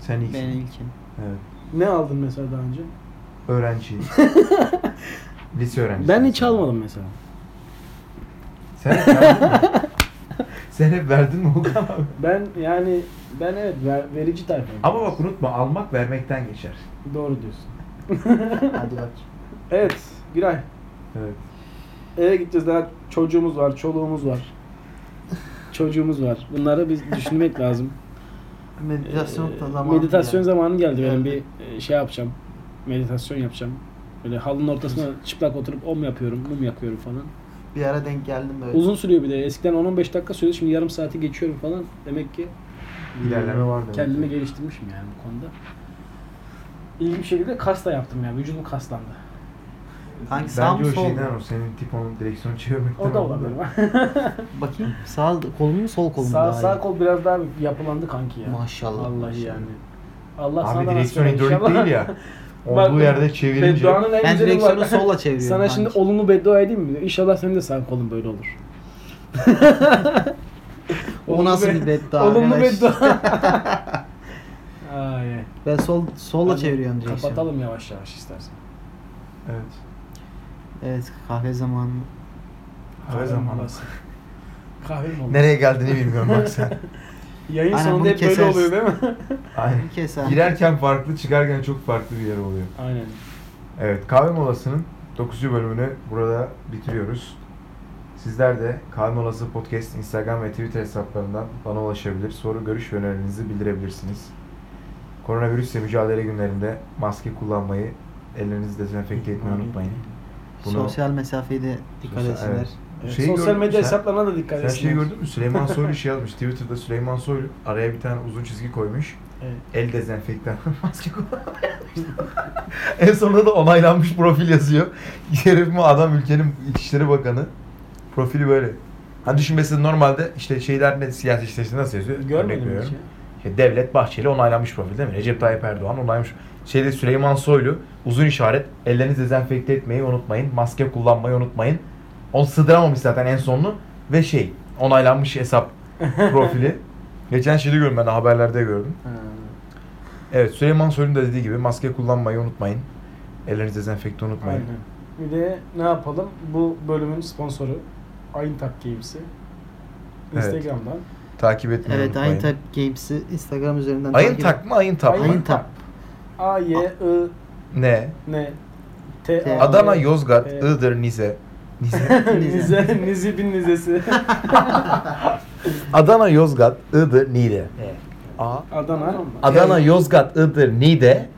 Speaker 1: Sen iyisin.
Speaker 2: Ben ilkim.
Speaker 1: Evet.
Speaker 7: Ne aldın mesela daha önce?
Speaker 1: Öğrenci. Lise öğrencisi.
Speaker 7: Ben hiç almadım mesela.
Speaker 1: Sen hep verdin mi? Sen hep verdin mi Okan abi?
Speaker 7: Ben yani ben evet ver- verici tayfayım.
Speaker 1: Ama bak unutma almak vermekten geçer.
Speaker 7: Doğru diyorsun.
Speaker 2: Hadi bak.
Speaker 7: Evet Giray.
Speaker 1: Evet.
Speaker 7: Eve gideceğiz daha çocuğumuz var, çoluğumuz var. Çocuğumuz var. Bunları biz düşünmek lazım.
Speaker 2: E, Meditasyon da
Speaker 7: Ee,
Speaker 2: zamanı.
Speaker 7: meditasyon
Speaker 2: yani.
Speaker 7: zamanı geldi. Benim
Speaker 2: Geldi.
Speaker 7: bir e, şey yapacağım. Meditasyon yapacağım. Böyle halının ortasına çıplak oturup om yapıyorum, mum yakıyorum falan.
Speaker 2: Bir ara denk geldim böyle.
Speaker 7: Uzun sürüyor bir de. Eskiden 10-15 dakika sürüyordu. Şimdi yarım saati geçiyorum falan. Demek ki
Speaker 1: İlerleme var demek.
Speaker 7: kendimi geliştirmişim yani bu konuda. ilginç bir şekilde kas da yaptım yani. Vücudum kaslandı.
Speaker 2: Hangi sağ
Speaker 1: Bence
Speaker 2: mı
Speaker 1: o
Speaker 2: sol mu?
Speaker 1: şeyden o senin tip onun direksiyonu çevirmekten.
Speaker 7: O da
Speaker 1: oldu.
Speaker 7: olabilir.
Speaker 2: Bakayım sağ kolum mu sol kolum mu
Speaker 7: sağ,
Speaker 2: daha
Speaker 7: sağ
Speaker 2: iyi?
Speaker 7: kol biraz daha yapılandı kanki ya.
Speaker 2: Maşallah.
Speaker 7: Vallahi
Speaker 2: maşallah.
Speaker 7: yani. Allah sana
Speaker 1: Abi
Speaker 7: nasip
Speaker 1: direksiyon
Speaker 7: eder
Speaker 1: hidrolik
Speaker 7: inşallah.
Speaker 1: değil ya.
Speaker 7: Bak,
Speaker 1: Olduğu yerde çevirince.
Speaker 7: Bedduanın en
Speaker 2: Ben
Speaker 7: güzeli
Speaker 2: direksiyonu
Speaker 7: bak.
Speaker 2: solla çeviriyorum.
Speaker 7: Sana şimdi
Speaker 2: kanki.
Speaker 7: olumlu beddua edeyim mi? İnşallah senin de sağ kolun böyle olur.
Speaker 2: o nasıl
Speaker 7: Olumlu
Speaker 2: bir beddua
Speaker 7: Olumlu
Speaker 2: arkadaş?
Speaker 7: beddua. Ay, ay.
Speaker 2: Ben sol solla
Speaker 7: Hadi
Speaker 2: çeviriyorum direksiyonu.
Speaker 7: Kapatalım yavaş yavaş istersen.
Speaker 1: Evet.
Speaker 2: Evet kahve zamanı.
Speaker 1: Her zaman.
Speaker 7: Kahve mi olur?
Speaker 1: Nereye geldiğini bilmiyorum bak sen.
Speaker 7: Yayın
Speaker 2: Aynen,
Speaker 7: sonunda
Speaker 2: bunu
Speaker 7: hep böyle
Speaker 2: keseriz.
Speaker 7: oluyor değil mi?
Speaker 1: Aynen.
Speaker 2: Keser.
Speaker 1: Girerken farklı, çıkarken çok farklı bir yer oluyor.
Speaker 7: Aynen.
Speaker 1: Evet, kahve molasının 9. bölümünü burada bitiriyoruz. Sizler de Kahve Molası Podcast Instagram ve Twitter hesaplarından bana ulaşabilir, soru, görüş ve önerilerinizi bildirebilirsiniz. Koronavirüsle mücadele günlerinde maske kullanmayı, ellerinizi dezenfekte etmeyi unutmayın. Bunu-
Speaker 2: Sosyal mesafeye de dikkat
Speaker 1: Sosyal-
Speaker 2: etsinler.
Speaker 1: evet.
Speaker 7: Evet,
Speaker 1: Şeyi
Speaker 7: sosyal
Speaker 1: gördün mü
Speaker 7: medya
Speaker 1: sen?
Speaker 7: hesaplarına da dikkat
Speaker 1: Sen
Speaker 7: etsinler.
Speaker 1: şeyi gördün mü? Süleyman Soylu şey yazmış. Twitter'da Süleyman Soylu araya bir tane uzun çizgi koymuş.
Speaker 7: Evet.
Speaker 1: El dezenfektan maske kullanmaya En sonunda da onaylanmış profil yazıyor. Herif mi adam ülkenin İçişleri Bakanı. Profili böyle. Hani düşün mesela normalde işte şeyler ne siyasi işte nasıl yazıyor? Örnek
Speaker 7: Görmedim
Speaker 1: veriyorum.
Speaker 7: hiç ya.
Speaker 1: İşte Şey, Devlet Bahçeli onaylanmış profil değil mi? Recep Tayyip Erdoğan onaylamış. Şeyde Süleyman Soylu uzun işaret. Ellerinizi dezenfekte etmeyi unutmayın. Maske kullanmayı unutmayın. Onu sığdıramamış zaten en sonunu. Ve şey onaylanmış hesap profili. Geçen şeyde gördüm ben de haberlerde gördüm.
Speaker 7: Ha.
Speaker 1: Evet Süleyman Soylu'nun da dediği gibi maske kullanmayı unutmayın. Ellerinizi dezenfekte unutmayın.
Speaker 7: Aynen. Bir de ne yapalım? Bu bölümün sponsoru Ayın Tak Games'i.
Speaker 1: Evet.
Speaker 7: Instagram'dan.
Speaker 1: Takip etmeyi
Speaker 2: Evet
Speaker 1: unutmayın.
Speaker 2: Ayın Tap Games'i Instagram üzerinden
Speaker 1: Ayın
Speaker 2: takip-
Speaker 1: tak mı ayın tap mı?
Speaker 2: Ayın Tap.
Speaker 7: A, Y, I,
Speaker 1: Ne?
Speaker 7: N, T, A,
Speaker 1: Adana,
Speaker 7: Y,
Speaker 1: Yozgat,
Speaker 7: E.
Speaker 1: Iğdır, Nize. Nize.
Speaker 7: Nize, Nizi bin Nizesi.
Speaker 1: Adana, Yozgat, Iğdır, Niğde. A.
Speaker 7: Adana.
Speaker 1: Adana, Yozgat, Iğdır, Niğde,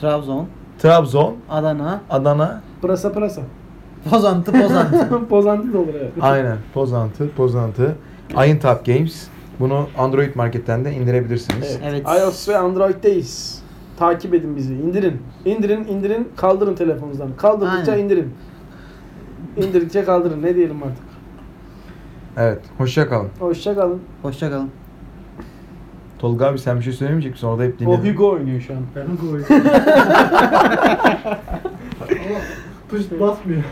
Speaker 2: Trabzon,
Speaker 1: Trabzon,
Speaker 2: Adana,
Speaker 1: Adana.
Speaker 7: Pırasa pırasa.
Speaker 2: Pozantı Pozantı.
Speaker 7: Pozantı da olur evet.
Speaker 1: Aynen. Pozantı, Pozantı. Ayın Tap Games. Bunu Android marketten de indirebilirsiniz.
Speaker 2: Evet.
Speaker 7: iOS ve Android'deyiz. Takip edin bizi. İndirin. İndirin, indirin, kaldırın telefonunuzdan. Kaldırdıkça
Speaker 2: Aynen.
Speaker 7: indirin. İndirdikçe kaldırın. Ne diyelim artık.
Speaker 1: Evet. Hoşça kalın.
Speaker 7: Hoşça kalın.
Speaker 2: Hoşçakalın.
Speaker 1: Tolga abi sen bir şey söylemeyecek misin? Orada hep
Speaker 7: O
Speaker 1: dinledin.
Speaker 7: Hugo oynuyor şu an.
Speaker 10: Ben koyuyorum. Ama tuş basmıyor.